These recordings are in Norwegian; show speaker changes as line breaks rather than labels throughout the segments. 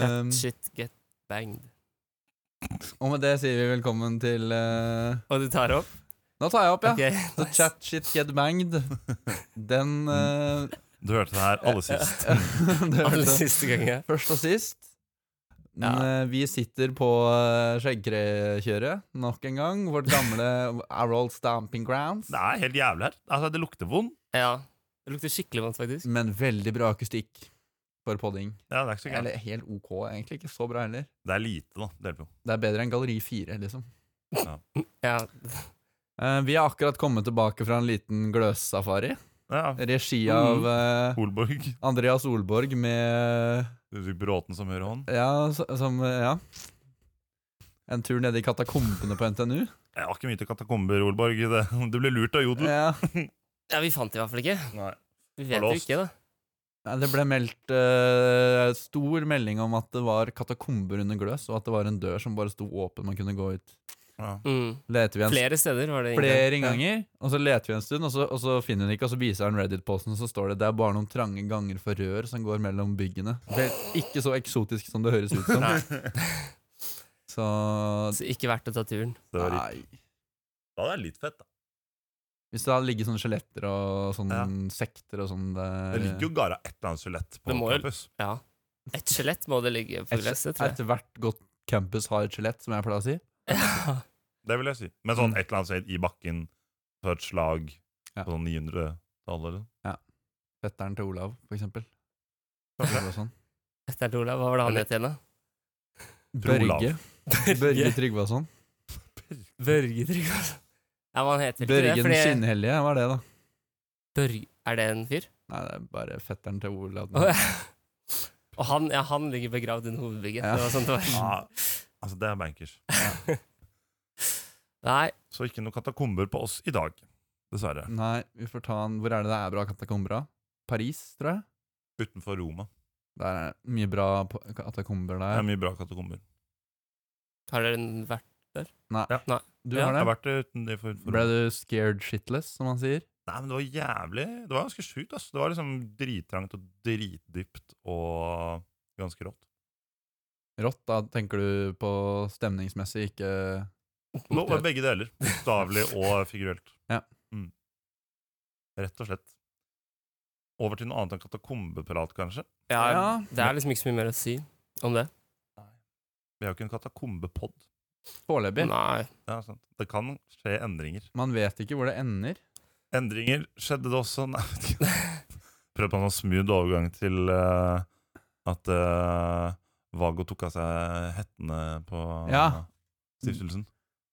Ehm,
Shit get banged.
Og med det sier vi velkommen til eh,
Og du tar opp?
Nå tar jeg opp, ja.
Ok,
The
nice.
chat shit get banged. Den eh,
Mm.
Du hørte det her aller sist.
Det
Aller
hørte jeg
siste gangen.
først og sist. Men, eh, vi sitter på uh, skjeggkrekjøret nok en gang. Vårt gamle Our Old Stamping Grounds.
Det er helt jævlig her. Altså, det lukter vondt.
Ja. Det lukter skikkelig vondt, faktisk.
Men veldig bra akustikk for podding.
Ja, det er ikke så gærent.
Eller helt OK, egentlig. Ikke så bra heller.
Det er lite, da. Det hjelper jo.
Det er bedre enn Galleri 4, liksom.
Ja.
Eh, vi har akkurat kommet tilbake fra en liten gløssafari.
Ja,
Regi av eh,
Holborg.
Andreas Olborg med
Du fikk Bråten som hører hånd.
Ja, så- som Ja. En tur nede i katakombene på NTNU.
Jeg har ikke mye til katakomber, Holborg. Det. Du ble lurt av jodel.
Ja.
ja, vi fant det i hvert fall ikke.
Nei.
Vi vet jo
Forlåst.
ikke, da.
Nei, Det ble meldt eh, stor melding om at det var katakomber under gløs, og at det var en dør som bare sto åpen. Man kunne gå ut.
Ja.
Mm.
Leter vi en
Flere steder var det. egentlig.
flere ganger, og så leter vi en stund, og så, og så finner vi den ikke, og så viser han Reddit-posten, og så står det det er bare noen trange ganger for rør som går mellom byggene. Vel, ikke så eksotisk som det høres ut som. Så
Så ikke verdt å ta turen.
Det var
Nei.
Ja, det er litt fett, da.
Hvis det hadde ligget sånne skjeletter og sånne
Ja.
sekter og sånn
Det ligger jo gara et eller annet skjelett på
Det må jo-
campus.
Ja. Et skjelett må det ligge på
Et-
gresset, tror jeg.
Etter hvert godt campus har et skjelett, som jeg pleier å si.
Ja.
Det vil jeg si. Men sånn et eller annet sted i bakken, på et slag
Mm. Ja.
på sånn 900-tallet eller
Fetteren til Olav, for eksempel.
noe.
Eller sånn.
Dette er til Olav. Hva var det han
Eller-
het igjen, da?
Til Olav.
Børge. Børge sånn. Tryggvason.
Børge Tryggvason. Ja, men han heter ikke det.
Børge den
Fordi...
skinnhellige, hva er det, da?
Børge... Er det en fyr?
Nei, det er bare fetteren til Olav.
Å, ja. Og han, ja, han ligger begravd under hovedbygget.
Ja.
Det var sånn det var.
Ja, altså, det er bankers.
Nei,
Så ikke noe katakomber på oss i dag, dessverre.
Nei, vi får ta en Hvor er det det er bra katakomber? da? Paris, tror jeg.
Utenfor Roma.
Der er det mye bra p- katakomber
Det
der.
er mye bra katakomber.
har dere en vært
Du
Ja.
har
Jeg har
det?
vært eh, utenfor Roma.
Ble du scared shitless, som man sier?
Nei, men det var jævlig Det var ganske sjukt, ass. Det var liksom drittrangt og dritdypt og ganske rått.
Rått, da tenker du på stemningsmessig, ikke
Nå var begge deler. Bokstavelig og figurelt.
Ja.
Mm. Rett og slett. Over til noe annet enn katakombeprat, kanskje.
ja,
Ja.
Det er liksom ikke så mye mer å si om det.
Vi har jo ikke en katakombepod.
foreløpig.
Nei.
Ja, sant. Det kan skje endringer.
Man vet ikke hvor det ender.
Endringer skjedde det også Nei, jeg vet ikke. Prøvde på en sånn smooth overgang til eh, at eh, Vago tok av seg hettene på
Ja.
stiftelsen.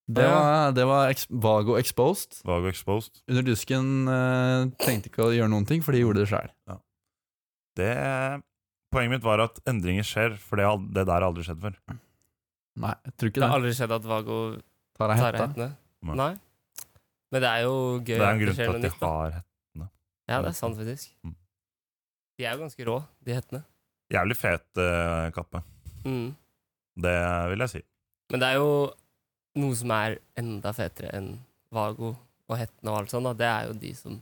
Det
Ja.
var, det var ex Vago Exposed.
Vago Exposed.
Under dusken eh, tenkte ikke å gjøre noen ting, for de gjorde det sjøl.
Det, poenget mitt var at endringer skjer, for det, har- det der har aldri skjedd før.
Nei, jeg tror
Det
ikke
har
det.
aldri skjedd at Vago
Tar av
tar av
hetta.
hettene.
Nei.
Nei. Men det er jo gøy
Det er en
at det
grunn
skjer
til
noe
at de
nytt. Da.
har hett.
Ja, det er sant, faktisk.
Mm.
De er jo ganske rå, de hettene.
Jævlig fet eh, kappe.
Mm.
Det vil jeg si.
Men det er jo noe som er enda fetere enn Vago og hettene og alt sånt. Da. Det er jo de som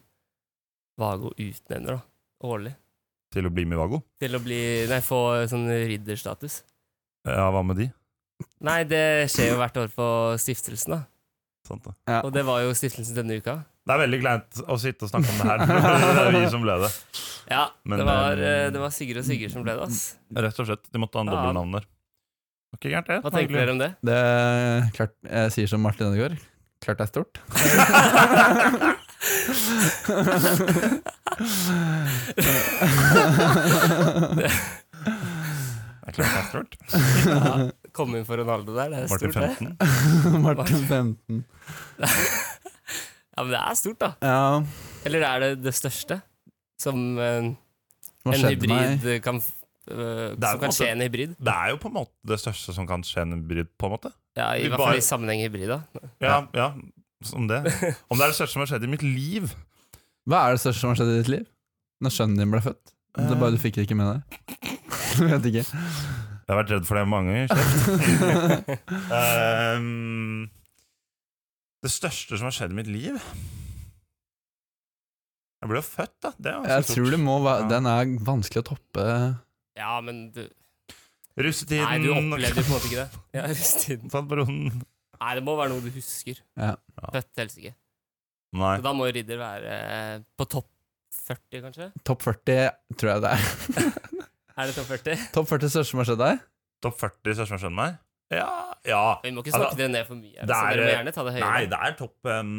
Vago utnevner da, årlig
Til å bli med i Vago.
til å bli, nei, få sånn ridderstatus.
Ja, hva med de?
Nei, det skjer jo hvert år på stiftelsen, da.
Sant det.
Ja.
Og det var jo stiftelsen denne uka.
Det er veldig kleint å sitte og snakke om det her. det er vi som ble det.
Ja,
Men,
det, var,
eh,
eh, det var Sigurd og Sigurd som ble det, ass.
Rett og slett. De måtte ha en
Ja.
dobbeltnavn der. Var ikke gærent, det.
Hva tenker dere om det?
Det er klart Jeg sier som Martin Ødegaard. Klart det er stort.
Det er klart det er stort.
Ja, Komme inn for Ronaldo der, det er
Martin
stort, det.
15.
Martin 15.
Ja, men det er stort, da.
Ja,
Eller er det det største? Som eh,
hva
en
skjedde meg?
hybrid eh, kan f- eh, Som
Det er på en
kan skje
måte-
en hybrid.
Det er jo på en måte det største som kan skje en bryd, på en måte.
Ja, I
Vi
hvert
bare-
fall i sammenheng hybrid, da.
Ja, ja. Om det. Om det er det største som har skjedd i mitt liv.
Hva er det største som har skjedd i ditt liv? Når sønnen din ble født? Det er bare du fikk det ikke med deg? Jeg vet ikke.
Eh, Jeg har vært redd for det mange ganger. kjeft. Ehm, det største som har skjedd i mitt liv Jeg ble jo født, da. Det er ganske
Jeg
stort.
tror det må være
Ja.
Den er vanskelig å toppe.
Ja, men du
Russetiden
Nei, du opplevde jo på en måte ikke det. Ja, russetiden.
Fant broren.
Nei, det må være noe du husker.
Ja.
Født helsike.
Nei.
Så da må jo Ridder være eh, på topp 40, kanskje?
Topp 40 tror jeg det er.
Er det topp 40?
Topp 40 største som har skjedd deg?
Topp 40 største som skjønner meg? Ja. ja.
Vi må ikke snakke
Altså,
dere ned for mye.
det
så
er- eh,
dere må gjerne ta det høyere.
Nei, det er topp em,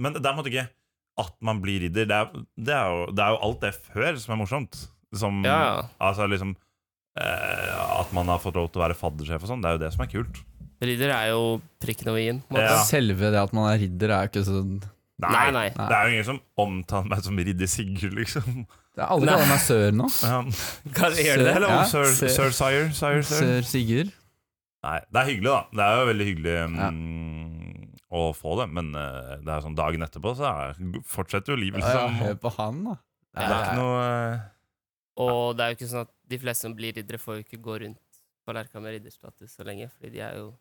Men det er på en måte ikke at man blir ridder. Det er, det er, jo, det er jo alt det før som er morsomt. Som
Ja, ja.
Altså liksom eh, At man har fått lov til å være faddersjef og sånn. Det er jo det som er kult.
Ridder er jo prikken over i-en. på en måte.
Ja.
Selve det at man er ridder, er jo ikke sånn
Nei, nei.
Det er jo ingen som omtaler meg som ridder Sigurd, liksom.
Det er Alle
Nei.
kaller meg sør nå.
Ja.
Kan dere gjøre det?
Hello,
Ja,
sir,
sir.
sir sire, sire, sir.
Sør Sigurd.
Nei, det er hyggelig, da. Det er jo veldig hyggelig mm, å få det, men eh, det er sånn dagen etterpå så er, fortsetter jo livet,
Ja, ja,
liksom.
hør på han, da.
Det er ikke noe eh,
Og det er jo ikke sånn at de fleste som blir riddere, får jo ikke gå rundt på lerka med ridderstatus så lenge, fordi de er jo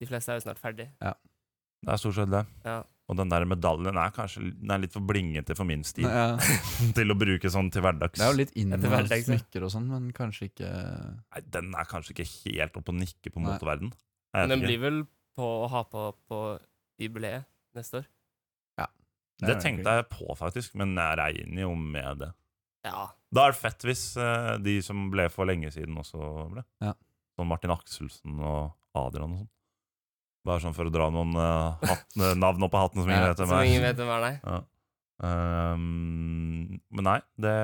De fleste er jo snart ferdig.
Det er stort sett det.
Ja.
Og den der medaljen er kanskje den er litt for blingete for min stil
Ja.
til å bruke sånn til hverdags.
Det er jo litt inn
Etter
med
hverdags, ja.
smykker og sånn, men kanskje ikke
Nei, den er kanskje ikke helt oppe og nikker på
Nei.
moteverden. Jeg
Men
vet
den
ikke.
blir vel på å ha på på jubileet neste år.
Det tenkte jeg på, faktisk, men jeg regner jo med det.
Ja.
Da er det fett hvis eh, de som ble for lenge siden, også ble.
Ja.
Sånn Martin Akselsen og Adrian og sånn. Bare sånn for å dra noen eh, hatt, navn opp av hatten som ingen
Ja,
vet hvem
Som ingen
er.
vet hvem er, nei.
Ja. Ehm, men nei, det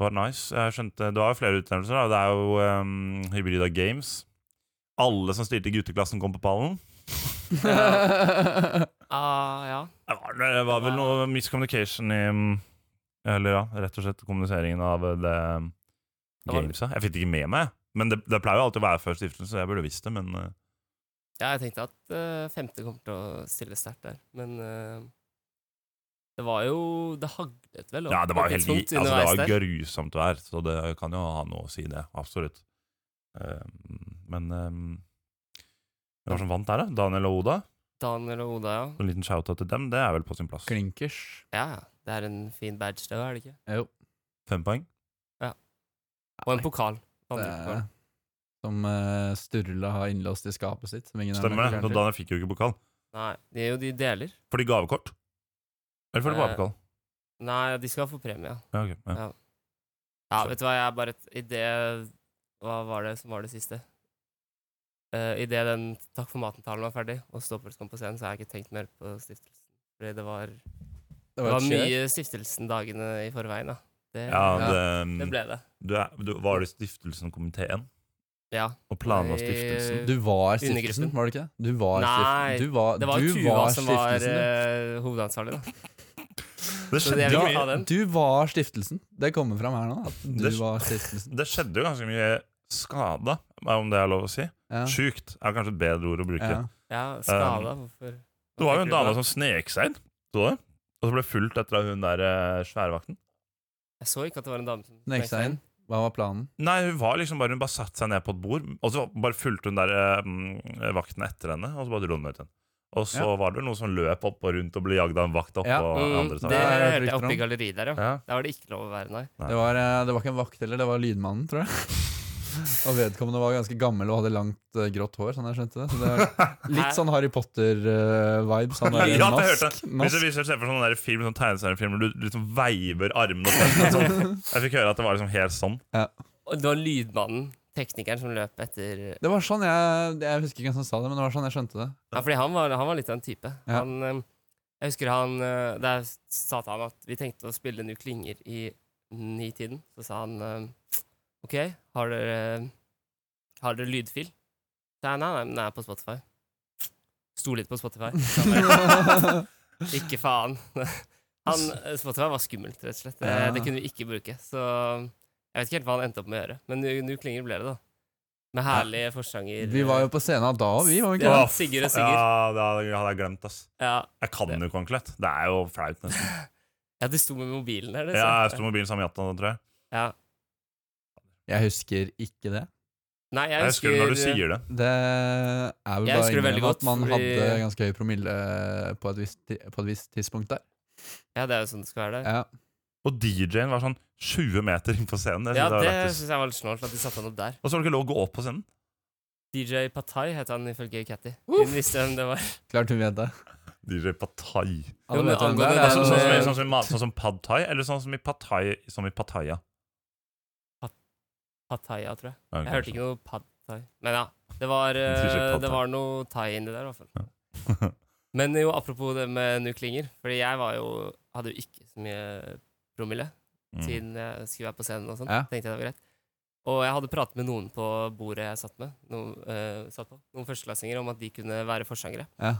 var nice. Jeg skjønte, Det var jo flere utnevnelser. da. Det er jo ehm, Hybrida Games. Alle som stilte i gutteklassen, kom på pallen.
jeg.
Ah, ja.
Det var, det var vel noe miscommunication i mm, Eller ja, rett og slett kommuniseringen av det
Det var-
gamesa. Jeg fikk det ikke med meg, men det, det pleier jo alltid å være før stiftelsen, så jeg burde visst det, men eh,
Ja, jeg tenkte at eh, femte kommer til å stille sterkt der, men eh, det var jo Det haglet vel?
Ja, det var jo helt
helt
altså, Det var grusomt vær, så det kan jo ha noe å si, det. Absolutt. Ehm, men ehm, hvem var det som vant der, da? Daniel og Oda?
Daniel og Oda, ja.
En liten shout-out til dem, det er vel på sin plass.
Klinkers.
Ja, ja. Det er en fin badge, det, er det ikke?
Jo.
Fem poeng.
Og en pokal. Andre
Eh,
pokal.
Som eh, Sturla har innlåst i skapet sitt. Som ingen er med
Stemmer
på
det. Og
kjernen til.
Daniel fikk jo ikke pokal.
Nei, det er jo de deler.
Fordi gavekort? Eller fordi det var
Eh,
pokal?
Nei, de skal få premie, ja.
Ja, ok, ja.
ja. Ja, vet du hva, jeg er bare et, I det Hva var det som var det siste? Uh, I det den Takk for maten-talen var ferdig, og Stoppels kom på scenen, så har jeg ikke tenkt mer på stiftelsen. Fordi det var, det
Det var
var
et kjør.
mye Stiftelsen-dagene i forveien, da. Det,
ja,
Ja.
det
det, mm,
ble det.
du er, du, var det stiftelsen og komiteen?
Ja.
Og planla stiftelsen?
Eh,
Du var
Undergruppen.
stiftelsen, var det ikke? det? Du var
Nei,
stiftelsen. Du var,
Det var
du
Tuva
var
som var
stiftelsen, du.
eh, hovedansvarlig, da.
Det
Eh, Så det
skjedde,
er
jo
vel-
mye,
ha den.
Du var stiftelsen. Det kommer fram her nå. At du
Det-
var stiftelsen.
det skjedde jo ganske mye skada, om det er lov å si.
Ja.
Sjukt er kanskje et bedre ord å bruke.
Ja.
Ja, skada. Hvorfor
Um, Det var jo en dame som snek seg inn, så du det? Og så ble fulgt etter av hun der eh, sværvakten.
Jeg så ikke at det var en dame som
Nekta inn. Hva var planen?
Nei, hun var liksom bare Hun bare satte seg ned på et bord, og så bare fulgte hun der eh, mm, vakten etter henne, og så bare dro hun ut igjen. Og så
Ja.
var det vel noen som løp opp og rundt og ble jagd av en vakt oppå
Ja.
Mm,
andre
det
siden.
Ja, jeg
hørte jeg
brukte
oppe i
den.
galleriet der, ja.
Ja.
Der var det ikke lov å være, nei.
Nei.
Det var, eh, det var ikke en vakt heller, det var lydmannen, tror jeg. Og vedkommende var ganske gammel og hadde langt eh, grått hår. Sånn jeg skjønte det Så det var
Hæ?
Litt sånn Harry Potter-vibes. Han der
Ja, det hørte
Nask.
jeg. Hvis du,
Nask.
hvis du ser for sånne der film, sånn tegneseriefilm hvor du liksom veiver armene og sånn, sånn. Jeg fikk høre at det var liksom helt sånn.
Og det var lydmannen, teknikeren, som løp etter
Det var sånn jeg Jeg husker ikke hvem som sa det, men det var sånn jeg skjønte det.
Ja, fordi han var, han var litt av en type.
Ja.
Han, eh, jeg husker han eh, Der sa til han at vi tenkte å spille Nu klinger i ni-tiden. Så sa han eh, OK, har dere, har dere lydfil? Så jeg, nei, nei, men den er på Spotify. Sto litt på Spotify.
Sånn
Så han bare, Ikke faen. Han, eh, Spotify var skummelt, rett og slett. Det,
Ja.
det kunne vi ikke bruke. Så jeg vet ikke helt hva han endte opp med å gjøre. Men Nu- Nu klinger ble det, da. Med herlige forsanger. eh,
Vi var jo på scenen da, vi. var vi ikke
Ja,
det?
Åh,
Sigurd og Sigurd.
Ja, det hadde jeg- hadde jeg glemt, ass.
ja,
Jeg kan jo ikke ordentlig. Det er jo flaut, nesten.
Ja, de sto med mobilen her. det
Ja, jeg
ser
sto mobilen sammen med Jatan, tror jeg.
Ja.
Jeg husker ikke det.
Nei, jeg
Jeg
husker,
husker det når du sier det.
Det er vel
Jeg
bare
husker det veldig
innrømme
godt,
at man
fordi-
hadde ganske høy promille på et visst, ti- på et visst tidspunkt der.
Ja, det er jo sånn det skal være der.
Ja.
Og DJ-en var sånn 20 meter innenfor scenen. Jeg
Ja,
synes det var
det
lettest.
syns jeg var litt snålt at de satte han opp der.
Og så var det ikke lov å gå opp på scenen.
DJ Patai het han ifølge Catty. Hun visste hvem det var.
Klart hun vet det.
DJ Patai.
Jo, men
Alle vet hvem det
angående
er. Det er
den,
Ja, sånn, sånn, som,
eh,
i- sånn, som, i mat- sånn som pad thai, eller sånn som i patai som i Pattaya.
Pattaya, tror jeg.
Ja,
Jeg hørte
kanskje.
ikke noe pad thai. Men ja, det var,
Jeg tror ikke
eh,
pad
det
thai.
var noe thai inni der, i hvert fall. Men jo, apropos det med nuklinger. Fordi jeg var jo, hadde jo ikke så mye promille
Mm.
siden jeg skulle være på scenen og sånn.
Ja.
Tenkte jeg det var greit. Og jeg hadde pratet med noen på bordet jeg satt, med, noen, eh, satt på, noen førsteklassinger, om at de kunne være forsangere.
Ja.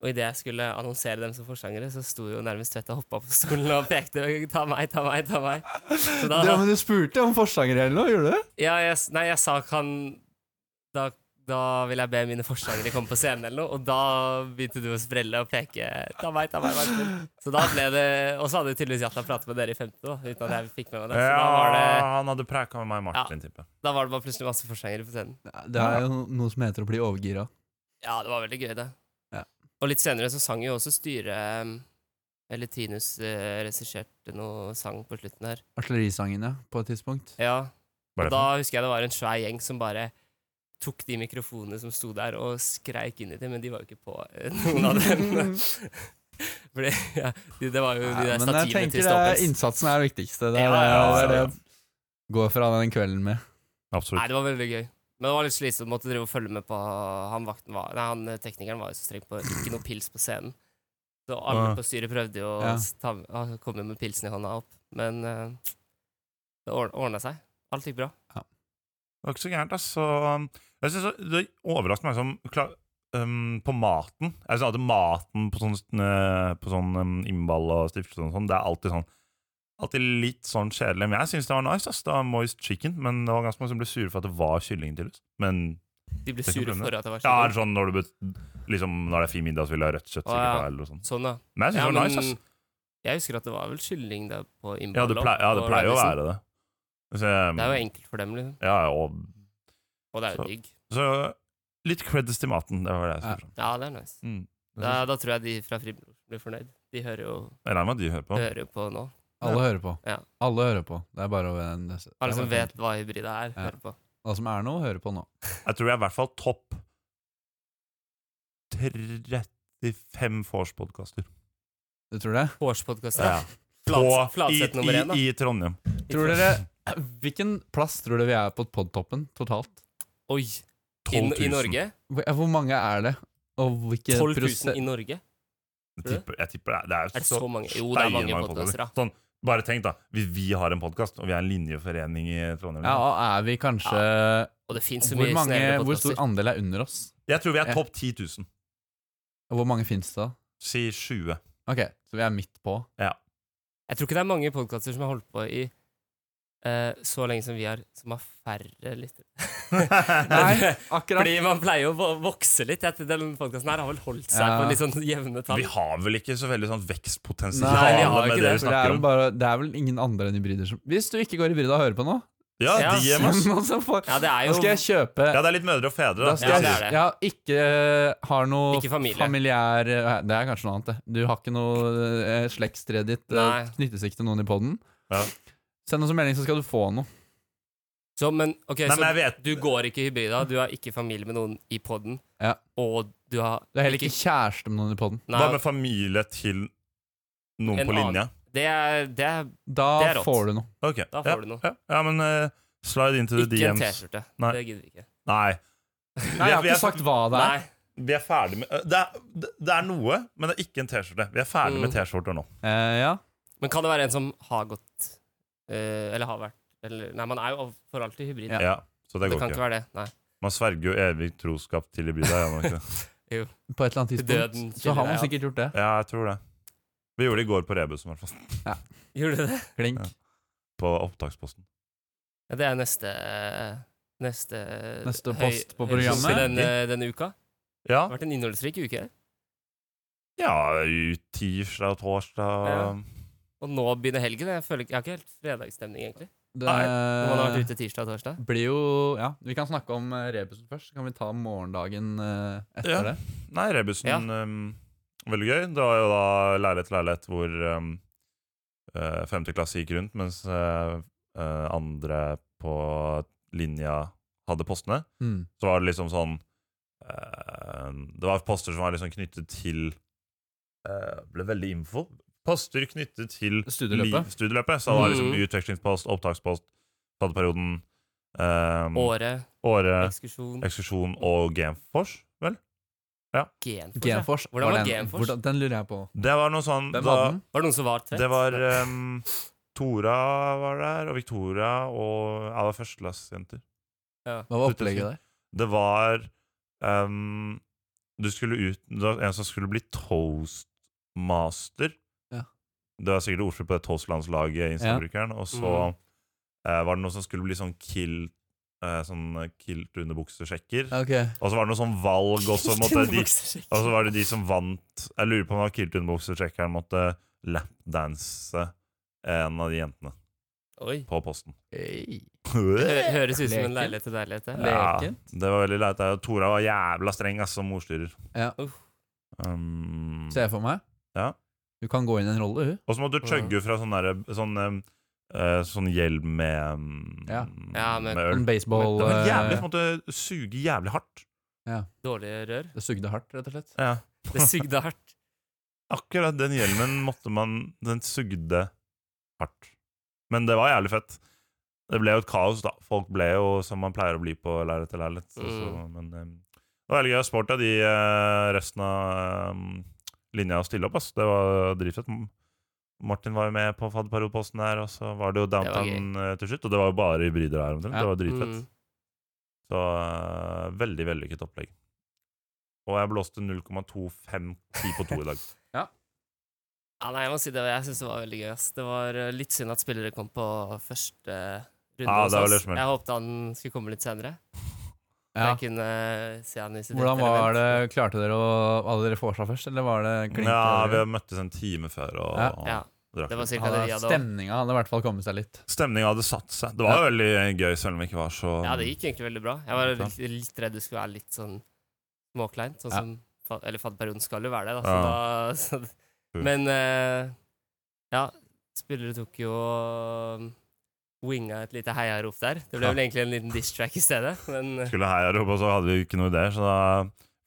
Og idet jeg skulle annonsere dem som forsangere, så sto jo nærmest Tvedt og hoppa på stolen og pekte. Ta meg, ta meg, ta meg. Så da-
Ja, men du spurte om forsanger eller noe, gjorde du det?
Ja, jeg, s- nei, jeg sa kan da, da vil jeg be mine forsangere komme på scenen eller noe, og da begynte du å sprelle og peke. Ta meg, ta meg, vær så snill. Så da ble det Og så hadde tydeligvis Jata pratet med dere i 15, da, uten at jeg fikk med meg det. Så da var det,
Ja, han hadde preka med meg og Martin, tipper jeg.
da var det bare plutselig masse forsangere på scenen.
Det er jo noe som heter å bli overgira.
Ja, det var veldig gøy, det.
Ja.
Og litt senere så sang jo også styret um, Eller Tinus eh, regisserte noe sang på slutten her.
Artillerisangen, ja, på et tidspunkt.
Ja, Og
Hva er det for
da
noe?
husker jeg det var en svær gjeng som bare tok de mikrofonene som sto der, og skreik inn i dem, men de var jo ikke på eh, noen av dem. Fordi ja, de, det var jo de
Ja, men
der
jeg
stativene til
tenker det er,
Stolpes.
innsatsen er det viktigste. Det er
Ja,
det,
ja,
det,
ja,
er det
ja.
jeg går fra den kvelden med.
Nei,
Absolutt.
det var veldig gøy. Men det var litt slitsomt. Måtte drive og følge med på han vakten var Nei, han eh, teknikeren var jo så streng på ikke noe pils på scenen. Så alle
Ah.
på styret prøvde jo å
Ja.
s- ta, ah, komme med pilsen i hånda opp, men eh, det ordna seg. Alt gikk bra.
Det var ikke så gærent, ass. Så, um, jeg synes det- det overrasker meg som klar, um, på maten. Jeg synes alltid maten på sånn, eh, på sånn um, innball og stiftelse og sånn, det er alltid sånn Alltid litt sånn kjedelig. Men jeg syns det var nice. ass. Det var moist chicken, men det var ganske mange som ble sure for at det var kylling til. oss. Men
De ble
Det kan
sure
bli med.
for at det var
ja, er det
sånn.
sånn når, du, bet- liksom, når det er fin middag, så vil jeg ha rødt kjøtt.
Å, ja.
sikkert, eller noe sånt.
Sånn, ja.
Men jeg synes
Ja,
det var nice, ass.
men jeg husker at det var vel kylling der på
Ja,
innballet.
det, plei, ja, det pleier å være det. Så, jeg-
liksom- Det er jo enkelt for dem, liksom.
ja, og,
Og det er
Så-
jo digg.
så litt credits til maten. Det var det jeg skulle fram
Ja, det er nice.
til. Mm.
Da, da tror jeg de fra Fribror blir fornøyd. De hører jo,
Jeg regner med at de hører på.
hører jo på nå.
Alle hører på.
Ja.
Alle hører på. Det er bare å det er bare
Alle som
å
vet
tenke.
hva hybrida er,
Ja.
hører på.
Alle som er noe, hører på nå.
Jeg tror jeg er i hvert fall topp 35 vorspodkaster.
Du tror det?
Hårspodkasten.
Ja.
Flats,
På- i,
flatsett nummer én, da.
i, I Trondheim.
Tror dere Hvilken plass tror dere vi er på podtoppen totalt?
Oi!
12
I,
000.
I Norge?
Hvor, ja, hvor mange er det? Og
12
hvilke
000
prosent-
i Norge?
Jeg tipper, jeg tipper det, er- det er,
Er det så mange? Jo, det er mange podcaster, da.
Sånn, bare tenk, da. Hvis vi har en podkast, og vi er en linjeforening i Trondheim
Ja, og er vi kanskje
Og det fins så
hvor,
mye
mange,
snevre
hvor stor
podkaster.
andel er under oss?
Jeg tror vi er
Ja.
topp 10 000.
Og hvor mange fins det da?
Si 20.
Ok, så vi er midt på.
Jeg tror ikke det er mange podkaster som har holdt på i eh, så lenge som vi har, som har færre lyttere.
Nei, akkurat.
Fordi man pleier jo å vo- vokse litt. Jeg tror Den podkasten her har vel holdt seg
Ja.
på litt sånn jevne tall.
Vi har vel ikke så veldig sånn vekstpotensial
Nei, vi
har
med
ikke det,
det
For
vi
det er
snakker
vel
om.
bare Det er vel ingen andre enn hybrider som Hvis du ikke går hybrida og hører på nå
Ja,
Ja.
de er masse.
Nå så får-
Ja, det er
Nå
jo
skal jeg kjøpe
ja, det er litt mødre og fedre.
Da
Da.
skal
det
jeg
er det.
ja, ikke eh, har noe
Ikke familie.
familiær eh, Det er kanskje noe annet, det. Du har ikke noe eh, slektstreet ditt
Nei.
eh, knyttes ikke til noen i poden.
Ja.
Send oss en melding, så skal du få noe.
Så, men, ok,
Nei,
så
men jeg vet
du går ikke hybrida, du har ikke familie med noen i poden,
Ja.
og du har
Du er heller ikke kjæreste med noen i poden.
Nei,
Hva med familie til noen
En
på linja?
det er, det er
Da
Det er rått.
får du noe.
Ok,
Da
ja,
får du noe.
Ja, ja men eh, slide into the
ikke en
DMs.
T-skjorte.
Nei.
Det gidder vi ikke.
Nei.
Nei, jeg har
vi,
ikke
er,
sagt hva det er.
Nei.
vi er ferdig med eh, det er, det er noe, men det er ikke en T-skjorte. Vi er ferdig med
Mm.
T-skjorter nå.
Eh, ja.
Men kan det være en som har gått eh, Eller har vært eller, Nei, man er jo for alltid hybrid.
Ja.
Ja. så det
det
går
kan
ikke.
ikke være det. Nei.
Man sverger jo evig troskap til hybrida. gjør man ikke det?
På et eller annet tidspunkt.
Døden
så har
skiller
man
deg,
sikkert gjort det.
Ja, jeg tror det. Vi gjorde det i går på Rebus, i hvert fall.
Gjorde du det?
Klink.
Ja. På opptaksposten.
Ja, det er neste eh, Neste,
Neste
høy-
post på
høydepunkt
programmet.
Denne, denne uka.
Ja,
Det har vært en innholdsrik uke.
ja i tirsdag og torsdag.
Ja. Og nå begynner helgen. Jeg, føler, ikke- jeg har ikke helt fredagsstemning, egentlig.
Det eh,
Nei,
Når man har vært ute tirsdag og torsdag.
blir jo Ja, vi kan snakke om eh, rebusen først. Så kan vi ta morgendagen eh, etter
Ja.
det.
Nei, Rebusen
Ja.
um, Veldig gøy. Det var jo da leilighet til leilighet hvor um, eh, femte klasse gikk rundt, mens eh, eh, andre på linja hadde postene.
Mm.
Så var det liksom sånn eh, Det var poster som var liksom knyttet til eh, Ble veldig info. Poster knyttet til
Studieløpet.
liv- studieløpet. Så det var liksom
Mhm.
utvekslingspost, opptakspost, fadderperioden, eh,
Året,
året,
ekskursjon,
ekskursjon og Genfors, vel?
genfors. ja.
Genfors.
Hvordan var
den,
Genfors?
Hvordan, den lurer jeg på.
Det var noe sånn
Hvem
da-
hadde den?
Var det noen som var trett?
Det var ehm, Tora var der, og Victoria og Jeg var førsteklassejenter.
Hva var opplegget der?
Det var ehm, Du skulle ut Det var en som skulle bli toastmaster.
Ja.
Det var sikkert ordspill på det toastlandslaget i Instabrukeren. Og
Mhm.
så eh, var det noe som skulle bli sånn kilt eh, Sånn kilt-underbuksesjekker.
Ok.
Og så var det noe sånn valg også. Måtte Altså, de
Underbuksesjekk.
Og så var det de som vant Jeg lurer på om det var Kiltunbokser-sjekkeren måtte lapdanse en av de jentene
Oi.
på posten.
Hey.
Det hø-
Ja,
høres ut som
Leken.
en leilighet til leilighet. det.
Ja. Lekent.
det var veldig leit. Og Tora var jævla streng ass, som ordstyrer.
Ja.
Um,
Ser jeg for meg?
Ja.
Du kan gå inn i en rolle, hun.
og så måtte du chugge fra sånn derre Sånn, um, eh, sånn hjelm med um,
Ja.
Ja, med-
øl.
En baseball
Det var jævlig
eh,
som måtte suge jævlig hardt.
Dårlige rør.
Det sugde hardt, rett og slett.
Ja.
Det sugde hardt.
Akkurat den hjelmen måtte man Den sugde hardt. Men det var jævlig fett. Det ble jo et kaos, da. Folk ble jo som man pleier å bli på lerret til lerret. så- så- Men em, det var veldig gøy. Sport av de eh, resten av em, linja å stille opp, ass. Det var dritfett. M- Martin var jo med på fadderperiodeposten der, og så var det jo
var
downtown eh, til slutt. Og det var jo bare hybrider der omtrent.
Ja.
Det var dritfett.
Mm.
Så eh, veldig vellykket opplegg. Og jeg blåste 0,25 ti på to i dag.
Ja, nei, jeg må si det. Jeg syns det var veldig gøy. Ass. Det var eh, litt synd at spillere kom på første eh, runde.
Ja,
hos
det var
oss.
litt smell.
jeg håpet han skulle komme litt senere. så
Ja.
Jeg kunne eh, se han i sitt
Hvordan var det?
element.
Klarte dere å Hadde dere vorsa først, eller var det klink?
Ja, vi har møttes en time før og,
Ja.
og
Ja,
drakk
det var
litt.
cirka det vi hadde. også.
Stemninga hadde i hvert fall kommet seg litt.
Stemningen hadde satt seg. Det var jo veldig gøy, selv om det ikke var så
Ja, det gikk egentlig veldig bra. Jeg var
Ja.
litt, litt redd det skulle være litt sånn småkleint. Sånn
Ja.
som, fa- eller fadderperioden skal jo være det, da.
Ja.
Så da så,
True.
men eh, ja, spillere tok jo eh, winga et lite heiarop der. Det ble
Ja.
vel egentlig en liten diss track i stedet, men eh,
Skulle her og så hadde vi ikke noe ideer, så da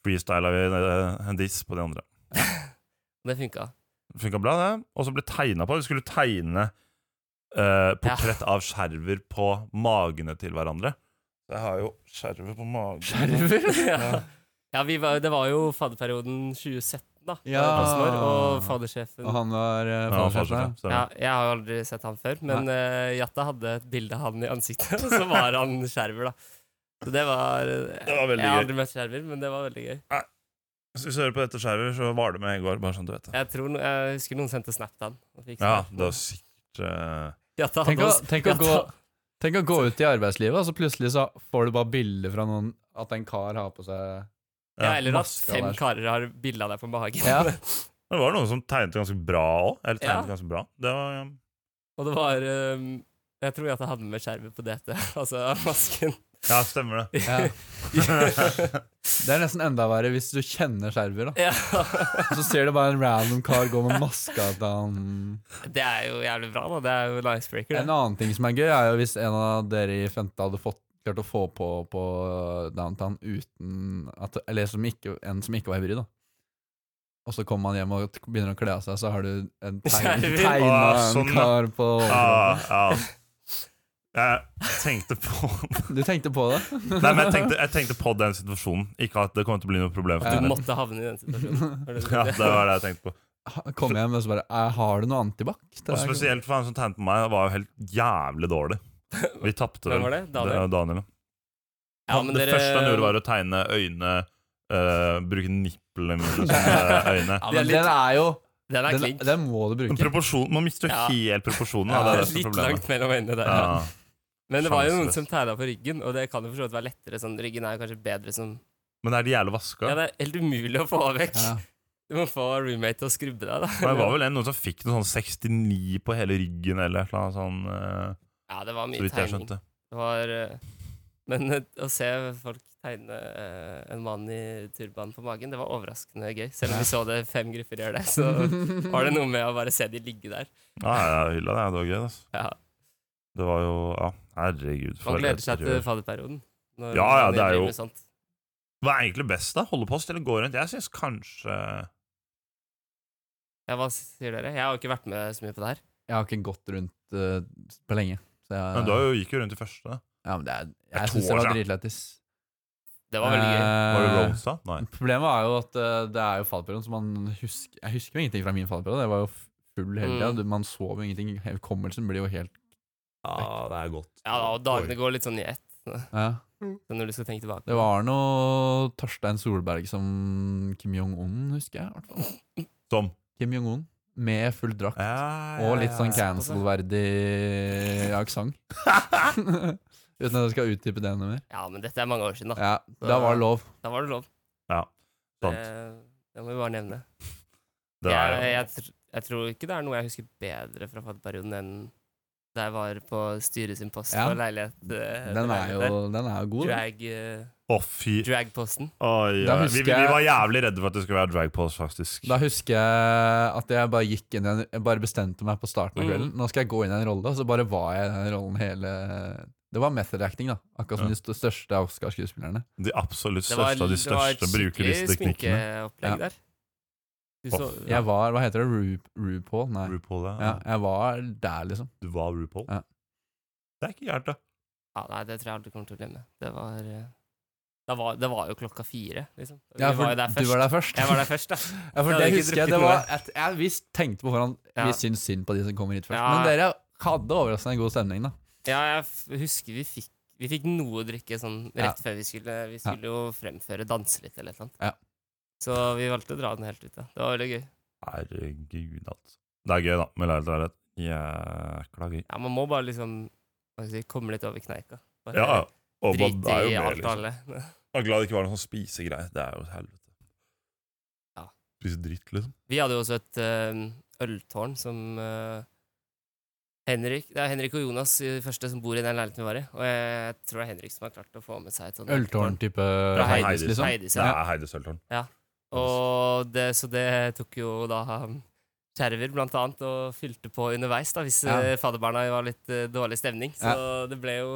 freestyla vi eh, en diss på de andre.
det funka.
Det Funka bra, det. Og så ble tegna på. Vi skulle tegne eh, portrett av skjerver på magene til hverandre. Så jeg har jo skjerver på magen.
ja. ja vi var, det var jo fadderperioden 2017, da.
Ja.
var det plassen vår, og faddersjefen
Og han var uh,
Ja, fallskjerm,
ja,
stemmer.
Jeg har aldri sett han før, men eh, Jatta hadde et bilde av han i ansiktet, og så var han skjerver, da. Så det var eh,
Det var veldig
Jeg har
gøy.
aldri møtt skjerver, men det var veldig gøy.
Hvis vi hører på dette skjerver, så var det med i går, bare sånn du vet det.
Jeg, tror, no- jeg husker noen sendte snap til han. og fikk
Ja,
snap.
det var sikkert eh,
Jatta
Tenk
hadde
å,
oss-
tenk, å gå,
Jatta-
tenk å gå ut i arbeidslivet, og så plutselig så får du bare bilder fra noen At en kar har på seg
ja, eller at
maska
fem
der.
karer har bilde av deg på magen.
Ja.
Men det var noen som tegnet ganske bra òg. Eller tegnet
Ja.
ganske bra. Det var, um,
Og det var eh, Jeg tror Jatta hadde med skjerver på DT, altså masken.
ja, stemmer det.
Ja. Det er nesten enda verre hvis du kjenner skjerver. da
ja.
Så ser du bare en random kar gå med maska til han
Det er jo jævlig bra, da. Det er jo en icebreaker. det.
En annen ting som er gøy, er jo hvis en av dere i femte hadde fått, klart å få på på downtown uten at Eller som ikke, en som ikke var hybrid, da. Og så kommer man hjem og t- begynner å kle av seg, så har du en tegn-
Skjerver.
tegna
Ah, sånn,
en
ja.
kar på
Ah, ja. Jeg tenkte på
Du tenkte på det?
Nei, men jeg tenkte, jeg tenkte på den situasjonen. Ikke at det kommer til å bli noe problem.
Ja.
For
Du
min del.
måtte havne i den situasjonen. Var det du
ja,
tenkte?
det var det jeg tenkte på.
Ha- Kom hjem og så bare «Eh, Har du noe antibac? Det
Og
er-
spesielt for han som tegnet på meg, var jo helt jævlig dårlig. Vi tapte
Hvem
vel.
var det?
Det
Daniel?
var Daniel.
Ja, men
det
dere-
første han gjorde, var å tegne øyne eh, Bruke nipplene mine som eh, øyne.
ja, men
det er litt-
Den er jo
Den er
den,
klink.
den må du
Men
bruke.
proporsjon, Man mister jo
Ja.
helt proporsjonen.
Ja,
Ja, det er det som er
Litt
problemet.
langt mellom øynene der.
Ja.
Men det var jo noen
sjanseløst.
som tegna på ryggen, og det kan jo for så vidt være lettere. Sånn, ryggen er jo kanskje bedre som
Men det er de jævla vaska.
Ja, det er helt umulig å få vekk.
Ja.
Du må få roommate til å skrubbe deg, da.
Men det var vel en, noen som fikk noe sånn 69 på hele ryggen eller et eller annet sånn, eh,
Ja, det var
så
mye
vidt jeg
tegning.
skjønte.
Det var eh, Men eh, å se folk tegne eh, en mann i turban på magen. Det var overraskende gøy, selv om vi så det fem grupper gjør det. Så var det noe med å bare se de ligge der.
Ja, jeg hylla det. Det var gøy. Altså.
Ja.
Det var jo Ja, herregud. for
Man gleder
et
seg til
rør.
fadderperioden. når
Ja, ja,
man
det er
driver
jo-
med sånt.
Hva er egentlig best, da? Holde post eller gå rundt? Jeg syns kanskje
Eh. Ja, hva sier dere? Jeg har jo ikke vært med så mye på det her.
Jeg har ikke gått rundt eh, på lenge. Så jeg,
Men du har jo- gikk jo rundt i første.
ja, men det er,
er
jeg
to
syns
år
det var
siden.
dritlættis.
Det var veldig
Eh,
gøy.
Var det Rosa? Nei.
Problemet er jo at eh, det er jo fadderperioden, så man husker Jeg husker jo ingenting fra min fadderperiode. Det var jo f- full hele tida.
Mm.
Du- Man sov jo ingenting. Hukommelsen blir jo helt
Ja, det er godt.
Ja, da, og dagene går litt sånn i ett
ja.
så når du skal tenke tilbake.
Det var noe Torstein Solberg som Kim Jong-un, husker jeg. i hvert fall.
Som
Kim Jong-un med full drakt.
ja, ja, ja,
Og litt sånn
ja.
cancel-verdig aksent. Uten at jeg skal utdype det noe mer.
Ja, men dette er mange år siden, da.
Ja, da var det lov.
Da var det lov. Det,
Sant.
det må vi bare nevne.
Sånn. Det er,
Eh, jeg, jeg, tr- jeg tror ikke det er noe jeg husker bedre fra fadderperioden enn da jeg var på styret sin post
Ja.
på leilighet. eh,
Den er
leilighet der.
jo, den er jo god. da.
Drag, eh,
Å, fy
Dragposten.
Oi,
Da
oi.
husker
Vi, vi
jeg-
var jævlig redde for at det skulle være drag pose, faktisk.
Da husker jeg at jeg bare gikk inn i en, jeg bare bestemte meg på
Mm.
starten av kvelden. Nå skal jeg gå inn i en rolle, og så bare var jeg i den rollen hele Det var method acting, da. Akkurat som de
Ja.
st- største Oscar-skuespillerne.
De absolutt
Det var,
største av de
det var et
største bruker disse
skikkelig
teknikkene.
sminkeopplegg
Ja.
der. Du
Å,
så,
Ja.
Jeg var Hva heter det? Ru, RuPaul? Nei.
RuPaul, ja.
Ja, jeg var der, liksom.
Du var RuPaul?
Ja.
Det er ikke gærent, da.
ja, nei, det tror jeg aldri kommer til å glemme. Det var, eh, det var, det var jo klokka fire, liksom. Vi
Ja, for
var jo der
du
først.
var der først.
Jeg var der først, da.
Ja, for det
Jeg hadde ikke
husker jeg.
drukket
Det var, at jeg vi tenkte på foran
Ja.
Vi syns synd på de som kommer hit først. Men
Ja.
dere hadde overraskende god stemning, da.
Ja, jeg f- husker vi fikk vi fikk noe å drikke sånn
Ja.
rett før vi skulle Vi skulle jo fremføre danse litt eller noe.
Ja.
Så vi valgte å dra den helt ut. da Det var veldig gøy.
Herregud, altså. Det er gøy, da, med leilighet og leilighet. Jækla gøy.
Ja, Man må bare liksom hva skal jeg si, komme litt over kneika. Bare
Ja, og man
drite i
er jo med,
alt og
liksom.
alle.
Jeg er glad det ikke var noen sånn spisegreie. Det er jo et helvete.
Ja.
Spise dritt, liksom.
Vi hadde jo også et eh, øltårn som eh, Henrik Det er Henrik og Jonas i det første som bor i den leiligheten vi var i. Og jeg tror det er Henrik som har klart å få med seg et sånt
Øltårn-type
Fra
Heidis,
Heidis.
liksom.
Heidis,
Det
ja.
er Heidi Altså, Søltårn.
Og det, så det tok jo da um, skjerver, blant annet, og fylte på underveis da, hvis
Ja.
eh, fadderbarna var litt eh, dårlig stemning. Så det ble jo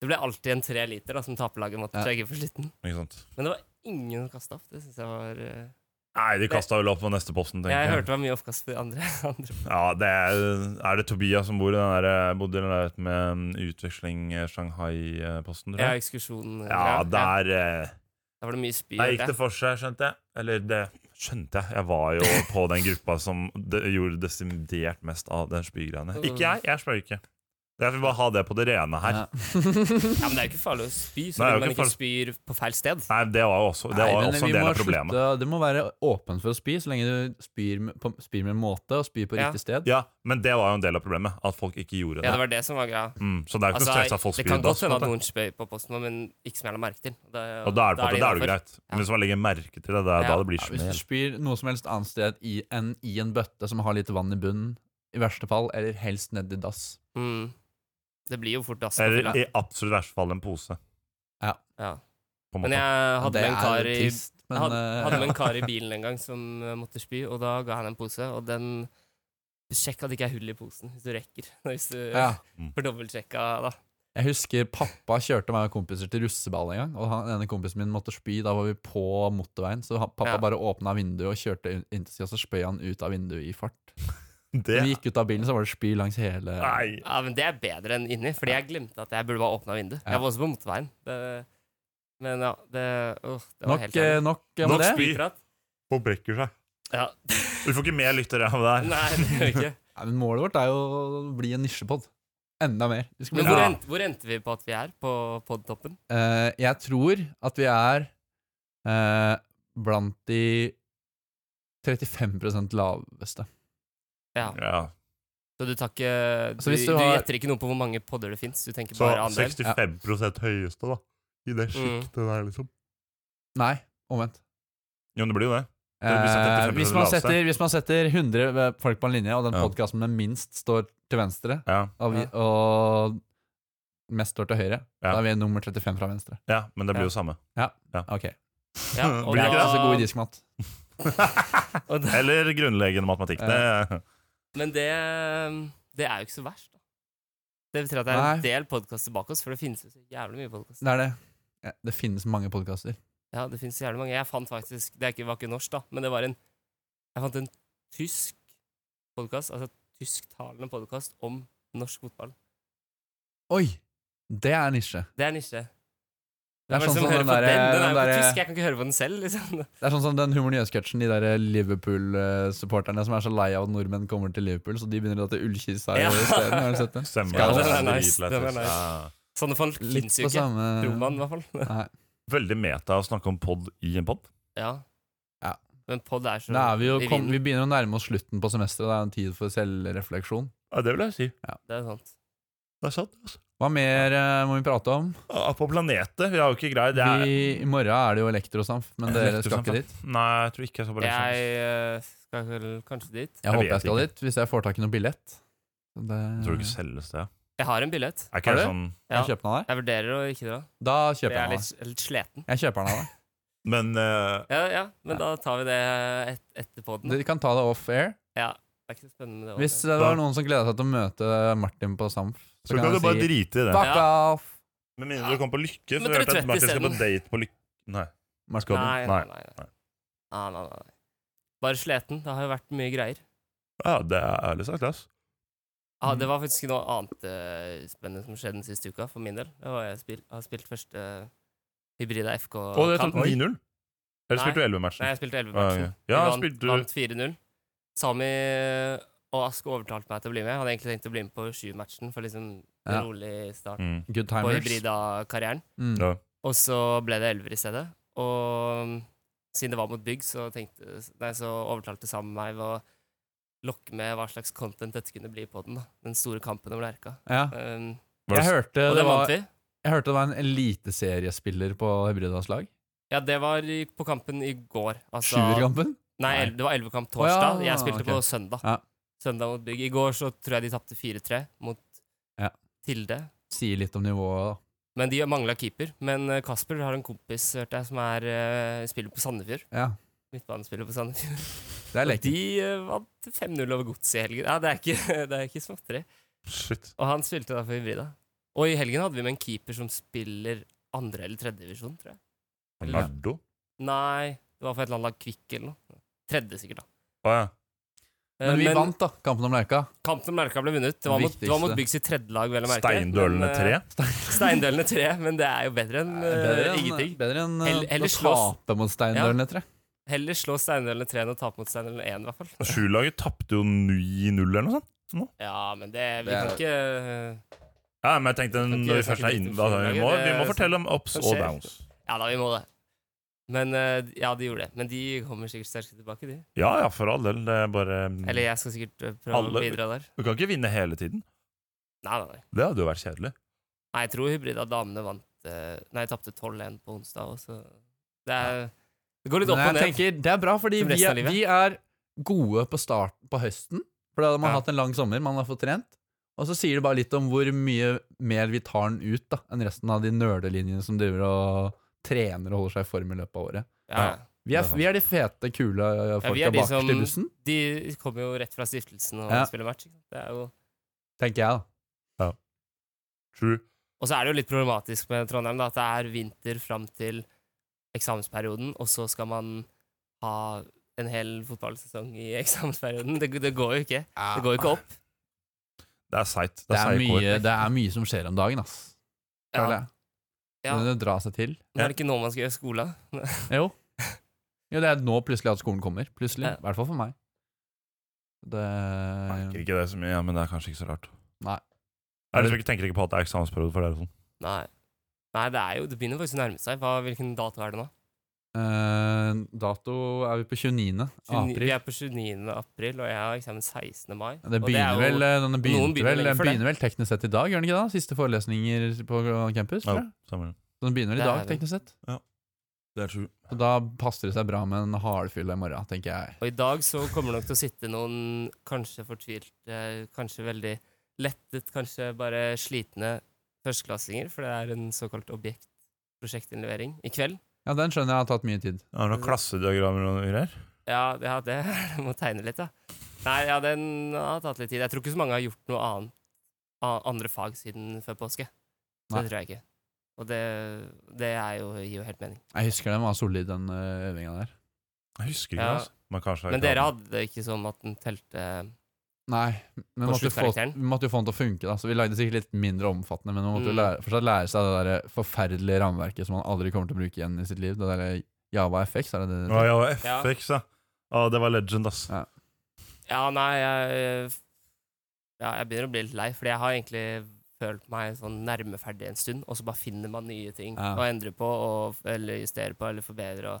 Det ble alltid en tre liter da, som taperlaget måtte
Ja.
chugge på slutten.
Ikke sant?
Men det var ingen som kasta opp. Det synes jeg var eh,
Nei, de kasta vel opp på neste posten, tenker
Jeg
jeg.
hørte det var mye oppkast på de andre. andre.
Ja, det er, er det Tobias som bor i den der, eh, bodde i den der med um, utveksling eh, Shanghai-posten, tror
Ja,
jeg?
ekskursjonen.
Ja,
ja.
der, eh,
Da var det mye spy.
der
hørte
gikk det
jeg.
for seg, skjønte jeg. Eller det skjønte jeg. Jeg var jo på den gruppa som de, gjorde desimidert mest av den spygreiene. Ikke jeg, jeg spøy ikke. Jeg vil bare ha det på det rene her.
Ja.
ja, Men det er jo ikke farlig å spy, så
Nei, det er
lenge
jo
man
ikke
ikke spyr på feil sted.
Nei, det var jo også, det
Nei,
var jo
men
også
vi
en del
må
av problemet.
slutte- Du må være åpen for å spy, så lenge du spyr med, på, spyr med en måte og spyr på
Ja.
riktig sted.
Ja, men det var jo en del av problemet, at folk ikke
Ja,
gjorde det.
det var det som var greia. Altså,
Mm, så det er jo ikke noe stress at folk
det kan godt
spyr dass. på en
hende at
måte.
noen spøy på posten, vår, men ikke som jeg la merke til. Da,
Og da er det, på en måte- da er det jo
innenfor.
greit. Men hvis man legger merke til det, det er
Ja.
da det blir
Ja, hvis du
smell.
spyr noe som helst annet sted i, enn i en bøtte som har litt vann i bunnen, i verste fall, eller helst nedi dass.
Mm. Det blir jo fort dass.
Eller
selvfølgelig.
i absolutt verste fall en pose.
Ja.
På en
Men
måte.
jeg
det
hadde med en
er
kar i
trist, men
hadde,
eh,
hadde med en kar i bilen en gang som eh, måtte spy, og da ga han en pose, og den Sjekk at det ikke er hull i posen, hvis du rekker. Hvis du
ja.
får dobbeltsjekka, da.
Jeg husker pappa kjørte meg og kompiser til russeball en gang, og han ene kompisen min måtte spy. Da var vi på motorveien, så han, pappa
Ja.
bare åpna vinduet og kjørte inn- inntil siden, og så spøy han ut av vinduet i fart.
Det
Når vi gikk ut av bilen, så var det spy langs hele
Nei.
Ja, men det er bedre enn inni, fordi jeg glemte at jeg burde bare åpna vinduet.
Ja.
Jeg var også på motorveien. Det, men ja, det, åh, det var
Nok,
helt
eh,
jævlig.
nok eh,
Nok
med det.
spy.
Spyprat?
Folk brekker seg.
Ja.
Du får ikke mer lyttere av det her.
Nei, det gjør jeg ikke.
Nei, men målet vårt er jo å bli en nisjepod. Enda mer. Vi skal bli
Men hvor,
Ja.
endte, hvor endte vi på at vi er på podtoppen?
Eh, jeg tror at vi er eh, blant de 35 laveste.
Ja.
Ja.
Så du, tar ikke, du,
Så hvis
du
du har-
gjetter ikke noe på hvor mange podder det fins? Du tenker
Så
bare andel?
65 høyeste, da. I det sjiktet der, liksom.
Nei, omvendt.
Jo, men det blir jo det. Det blir satt
Eh,
35%
hvis, man
laveste.
setter, hvis man setter eh, 100 folk på en linje, og den
Ja.
podkasten med minst står til venstre,
Ja.
og, vi,
Ja.
og mest står til høyre,
Ja.
da er vi nummer 35 fra venstre.
Ja, men det blir
Ja.
jo samme.
Ok,
Ja, og
Blir
Jeg er
da-
ikke så god i diskmat.
og da-
Eller grunnleggende matematikk. Det,
Men det, eh, det er jo ikke så verst. Da. Det betyr at det er
Nei.
en del podkaster bak oss, for det finnes jo så jævlig mye podkaster.
Det er det. Ja, det finnes mange podkaster.
Ja, det finnes så jævlig mange. Jeg fant faktisk Det er ikke, var ikke norsk, da, men det var en Jeg fant en tysk podkast, altså tysktalende podkast om norsk fotball.
Oi! Det er nisje.
Det er nisje.
Det er
Hvem
sånn
som
som
hører
den
på
derre-
den? Den er
den
jo på
derre-
tysk, jeg kan ikke høre på den selv, liksom.
Det er sånn som den humornøye-sketsjen, de der Liverpool-supporterne som er så lei av at nordmenn kommer til Liverpool, så de begynner å dra til ullkisa
Ja.
isteden. Har du sett det?
eh, stemmer.
Ja, den
er
Det
nice,
dritlett,
den er
altså. Ja.
Sånne folk
Litt
fins jo
på
ikke.
samme
Tror man, i hvert fall.
Nei.
Veldig meta å snakke om pod i en pod.
Ja.
Ja.
Men pod er så
Da er vi, jo,
i
kom,
vinden.
vi begynner å nærme oss slutten på semesteret. Det er en tid for selvrefleksjon.
Ja, det vil jeg si.
Det er sant.
Det er sant. altså.
Hva mer eh, må vi prate om?
Ja, På planetet. Vi har jo ikke greid det. Er,
Vi, I morgen er det jo elektrosamf, men dere skal ikke dit.
Nei, jeg tror ikke jeg skal på
Jeg
Leksands.
eh, skal vel kanskje dit.
Jeg,
Jeg
håper
vet
jeg skal
ikke.
dit, hvis jeg får tak i noen billett. Så Det,
Jeg tror ikke selges det.
Jeg har en billett.
Er
Har
ikke det
du?
sånn
Ja.
Jeg kjøper den av deg.
Jeg vurderer å ikke dra.
Da
Jeg
kjøper
er
jeg den av deg.
litt, litt sleten.
Jeg kjøper den av deg.
Men eh,
Ja, ja, men da tar vi det eh, et, etterpå den.
Du kan ta det off air.
Ja, det er ikke så spennende med det.
Hvis
også.
det var noen som gleda seg til å møte Martin på Samf,
så kan du bare drite i det.
fuck off!
Med mindre du kommer på Lykke,
Men
så hørte jeg
Trøtt
at Martin skal på
isteden.
date på Lykke. Nei.
Martin.
Skal du?
nei, nei,
Nei.
nei, nei. Nei, nei, nei. Bare sleten. Det har jo vært mye greier.
Ja, det er ærlig sagt, ass.
Ah,
Mhm.
Mm.
det var faktisk noe annet eh, spennende som skjedde den siste uka, for min del. Det var jeg spil, har spilt første eh, hybrida
Og det er
FK-kamp.
9-0. Eller
Nei.
spilte du
Nei,
11-matchen?
jeg spilte 11-matchen.
Ja, ja,
Vi vant,
spilte du
vant 4-0. Sami eh, og Ask overtalte meg til å bli med. Jeg hadde egentlig tenkt å bli med på 7-matchen, for liksom en
Ja.
rolig start
Mm.
Good
på
timers.
hybrida-karrieren.
Mm.
Ja.
Og så ble det elver i stedet. Og mm, siden det var mot bygg, så, tenkte, nei, så overtalte Sam meg ved å lokke med hva slags content dette kunne bli på den. Da. Den store kampen om Lerka.
Ja.
Um,
Var
Jeg,
det,
hørte
og
det
det vant
var,
vi.
jeg hørte det var en eliteseriespiller på Hybridas lag.
Ja, det var i, på kampen i går. Altså,
Sjuerkampen?
Nei,
Nei.
el- det var elvekamp
Å, ja,
torsdag. Jeg spilte
ok.
på søndag.
Ja.
Søndag mot bygg. I går så tror jeg de tapte 4-3 mot
Ja.
Tilde.
Sier litt om nivået, da.
Men de mangla keeper. Men eh, Kasper har en kompis hørte jeg, som er, eh, spiller på Sandefjord.
Ja,
Midtbanespiller på Sandefjord.
det er
Og
lekkert.
de eh, vant 5-0 over godset i helgen. Ja, det er ikke, det er ikke småtteri.
Shit.
Og han spilte da for Hybrida. Og i helgen hadde vi med en keeper som spiller andre- eller tredjedivisjon, tror jeg.
Nardo?
Nei, det var for et eller annet lag Kvikk eller noe. Tredje, sikkert, da.
Å ja.
Eh,
Men vi vant, da. Kampen om Lerka.
Kampen om Lerka ble vunnet. Det var mot, det var mot Byggs i tredje lag, vel å merke.
Steindølene
Men, eh,
3?
Steindølene 3, men det er jo bedre enn
Bedre
eh,
enn,
ingenting.
bedre enn
Eller-
eh,
eller
å
slåss.
tape mot Steindølen, tror jeg.
Heller slå Steindølene 3 enn å tape mot Steindølene 1, i hvert fall.
Sju-laget tapte jo 9-0 eller noe sånt.
Ja, men det Vi
Det er-
kan ikke eh,
Ja, men jeg tenkte
Kan ikke
når vi
snakke
først er
dritt
inn,
om
altså, vi, må,
sju-laget,
vi må
det-
fortelle om ups
det
og
skjer.
downs.
Ja da, vi må det. Men eh, ja, de gjorde det. Men de kommer sikkert sterkere tilbake, de.
Ja ja, for all del. Det er bare
Eller jeg skal sikkert eh, prøve å
Alle-
bidra der.
Du kan ikke vinne hele tiden.
Nei, nei, nei.
Det hadde jo vært kjedelig.
Nei, jeg tror hybrida damene vant eh, Nei, tapte 12-1 på onsdag også. Det, er, det går litt opp og
Men jeg
ned.
tenker, det er bra, fordi
Som
vi
resten av
er, vi er gode på start på høsten. For da hadde man
Ja.
hatt en lang sommer, man har fått trent. Og så sier det bare litt om hvor mye mer vi tar den ut da, enn resten av de nerdelinjene som driver og trener og holder seg i form i løpet av året.
Ja.
Ja.
Vi er,
Det er sant.
vi er de fete, kule eh, folka
vi er de
bakerst
som-
i bussen,
De kommer jo rett fra stiftelsen og
Ja.
spiller match. Ikke sant? Det er jo,
tenker jeg, da.
True.
og så er det jo litt problematisk med Trondheim da, at det er vinter fram til eksamensperioden, og så skal man ha en hel fotballsesong i eksamensperioden. Det, det går jo ikke. Det går jo ikke opp.
Det er seigt.
Det er,
seige kår.
mye, det er mye som skjer om dagen, ass.
Ja.
Føler jeg.
Ja.
Det drar seg til.
Men er det ikke nå man skal gjøre skolen?
Jo. jo, det er nå plutselig at skolen kommer. Plutselig.
Ja.
I hvert fall for meg. Det
Jeg merker ikke det så mye, ja, men det er kanskje ikke så rart.
Nei.
Jeg liksom ikke, tenker ikke på at det er eksamensperiode for dere. og Sånn.
Nei. Nei, det er jo Det begynner faktisk å nærme seg. Hva, hvilken dato er det nå?
Eh, dato er vi på 29.
29 Vi
april.
er på 29. april, og jeg har eksamen 16. mai.
Det
og
begynner
er jo-
vel, eh, denne begynte
begynner
vel,
lenge før det.
begynner vel teknisk sett i dag, gjør den ikke da? Siste forelesninger på campus. tror
Ja,
jeg.
samme.
Så den begynner i
Det
dag,
er den.
teknisk sett.
Det er true.
Så da passer det seg bra med en hardfylla i morgen, tenker jeg.
Og i dag så kommer det nok til å sitte noen kanskje fortvilte, kanskje veldig lettet, kanskje bare slitne førsteklassinger, for det er en såkalt objektprosjektinnlevering i kveld.
Ja, den skjønner jeg har tatt mye tid.
Har du
Mm.
noen klassediagrammer og noe greier?
Ja, det, ja, det jeg må tegne litt, ja. Nei, ja, den har tatt litt tid. Jeg tror ikke så mange har gjort noe annet, a- andre fag siden før påske. Så
Nei.
det tror jeg ikke. Og det, det er jo, gir jo helt mening.
Jeg husker den var solid, den eh, øvingen der.
Jeg husker ikke,
Ja.
altså. Men, kanskje jeg
Men
ikke
dere
har-
hadde det ikke sånn at den telte
Nei, men
På
måtte jo få,
sluttkarakteren?
vi måtte jo få den til å funke, da. Så vi lagde det sikkert litt mindre omfattende, men man måtte jo
Mm.
lære, fortsatt lære seg det der forferdelige rammeverket som man aldri kommer til å bruke igjen i sitt liv. Det der Java FX, er det det? det
Å,
heter?
ja, og FX, ja. Å, det var legend, ass.
Ja.
Ja, nei, jeg Ja, jeg begynner å bli litt lei, fordi jeg har egentlig følt meg sånn nærme ferdig en stund, og så bare finner man nye ting
Ja.
å endre på, og, eller justere på, eller forbedre og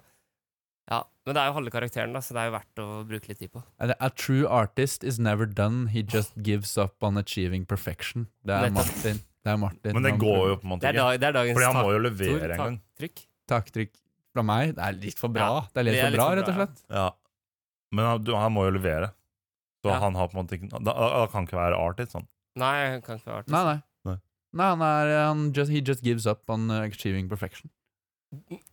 Ja. Men det er jo halve karakteren, da, så det er jo verdt å bruke litt tid på.
Er det, A true artist is never done, he just gives up on achieving perfection. Det er
Nettopp.
Martin. Det er Martin.
Men det
Han
går
prøver-
jo på en måte
Det er,
ikke.
dag, det er dagens
Fordi han må jo
Tor,
levere en
ta-
gang.
Trykk.
Taktrykk fra meg. Det er litt for bra.
Ja,
det er litt
det er
for
litt
bra,
for
rett og
bra, ja.
slett.
Ja. Men han, du, han må jo levere. Så
Ja.
han har på en måte ikke Da, da kan ikke være artist, sånn.
Nei, jeg kan ikke være artist.
Nei, nei.
Nei.
Nei, han er han just, He just gives up on uh, achieving perfection.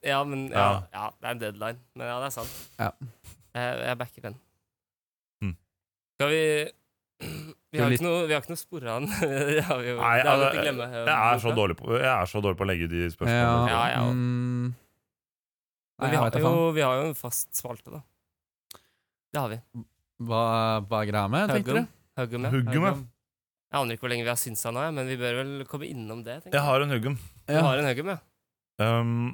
Ja, men ja,
Ja.
ja, det er en deadline. Men ja, det er sant.
Ja.
Jeg, jeg backer den.
Mm.
Skal vi Vi har
litt-
ikke noe, vi har ikke noe spor av den. det har vi jo
Nei,
det har vi
altså,
ikke glemme.
Jeg er så dårlig på, jeg er så dårlig på å legge ut de spørsmålene.
Ja, ja.
mm. Nei,
Men vi
jeg
har,
vet da
jo,
faen.
vi har jo en fast spalte, da. Det har vi.
Hva, hva er greia med, tenkte
Huggum.
du?
Huggum, ja.
Huggum, jeg.
Jeg aner ikke hvor lenge vi har synsa nå, jeg, men vi bør vel komme innom det. tenker
Jeg har en huggum.
Du
Ja.
har en huggum, ja.
Um,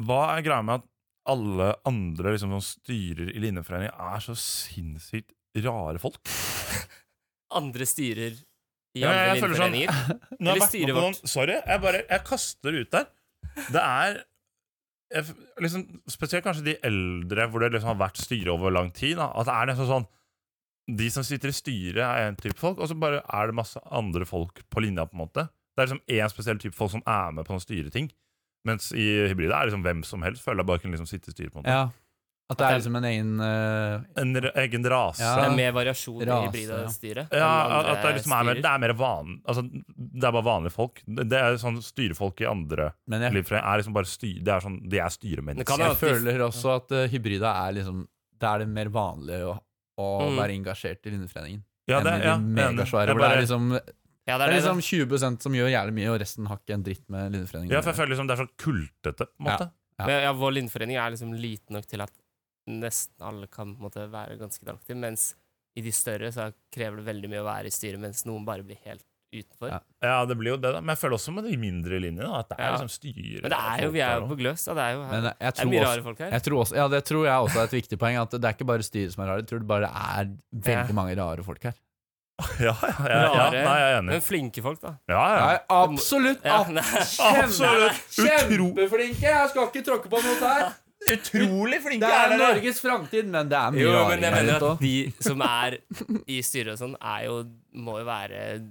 hva er greia med at alle andre liksom, som styrer i Linjeforeningen, er så sinnssykt rare folk?
Andre styrer i
Ja,
andre
jeg føler sånn-
vindforeninger.
Nå har
Eller
jeg vært med
styret
på
vårt.
noen, sorry, jeg bare jeg kaster ut der. Det er jeg, f- liksom, Spesielt kanskje de eldre hvor det liksom har vært styre over lang tid. Da, at det er liksom sånn De som sitter i styret, er en type folk, og så bare er det masse andre folk på linja. på en måte Det er liksom én spesiell type folk som er med på sånne styreting. Mens i hybride er det liksom hvem som helst føler jeg bare kunne liksom sitte i styret. på en måte
ja. At det
At
er
det-
liksom en egen uh,
En r egen rase.
Det
Ja.
er mer variasjon i
Rase,
hybrida
ja.
styret.
Ja,
enn andre
at det, liksom er
styrer.
mer, det er mer van, altså, Det er bare vanlige folk. Det, det er sånn styrefolk i andre
Men jeg,
Livfrøy er liksom bare styr, det er sånn, de er styremennesker.
Det kan være
jeg
at de-
føler også at uh, hybrida er liksom Det er det mer vanlige å, å
Mm.
være engasjert i Lindeforeningen.
ja, det,
enn i de
ja,
megasvære,
jeg
hvor det
bare-
er liksom
Ja,
Det
det er
er
det, da.
liksom 20 som gjør jævlig mye, og resten har ikke en dritt med Lindeforeningen.
ja, for jeg føler liksom det er så kultete, på en
Ja.
måte.
Ja.
Men ja, vår lindforening er liksom liten nok til at nesten alle kan på en måte være ganske delaktige, mens i de større så krever det veldig mye å være i styret, mens noen bare blir helt utenfor.
Ja.
Ja. det blir jo det, da. Men jeg føler også med de mindre linjene, da, at det er
Ja.
liksom styre.
Men det er jo, vi er jo på gløs, da. Det er jo
Men jeg, jeg
det er
tror
mye
også
rare folk her.
jeg tror også, ja, Det tror jeg også er et viktig poeng. At Det er ikke bare styret som er rare. Jeg tror det bare er veldig
Ja.
mange rare folk her.
Ja, ja, ja, ja,
Rare.
nei, jeg er enig.
Men flinke folk, da.
Ja, ja.
Nei, absolutt!
Ja,
ab-
nei.
kjempe-
Absolutt. Utro-
Kjempeflinke! Jeg skal ikke tråkke på noe her.
Utrolig flinke
Det er Norges framtid, men det er mye
Jo, men
rare
jeg mener
her ute
at
òg.
de som er i styret og sånn, er jo Må jo være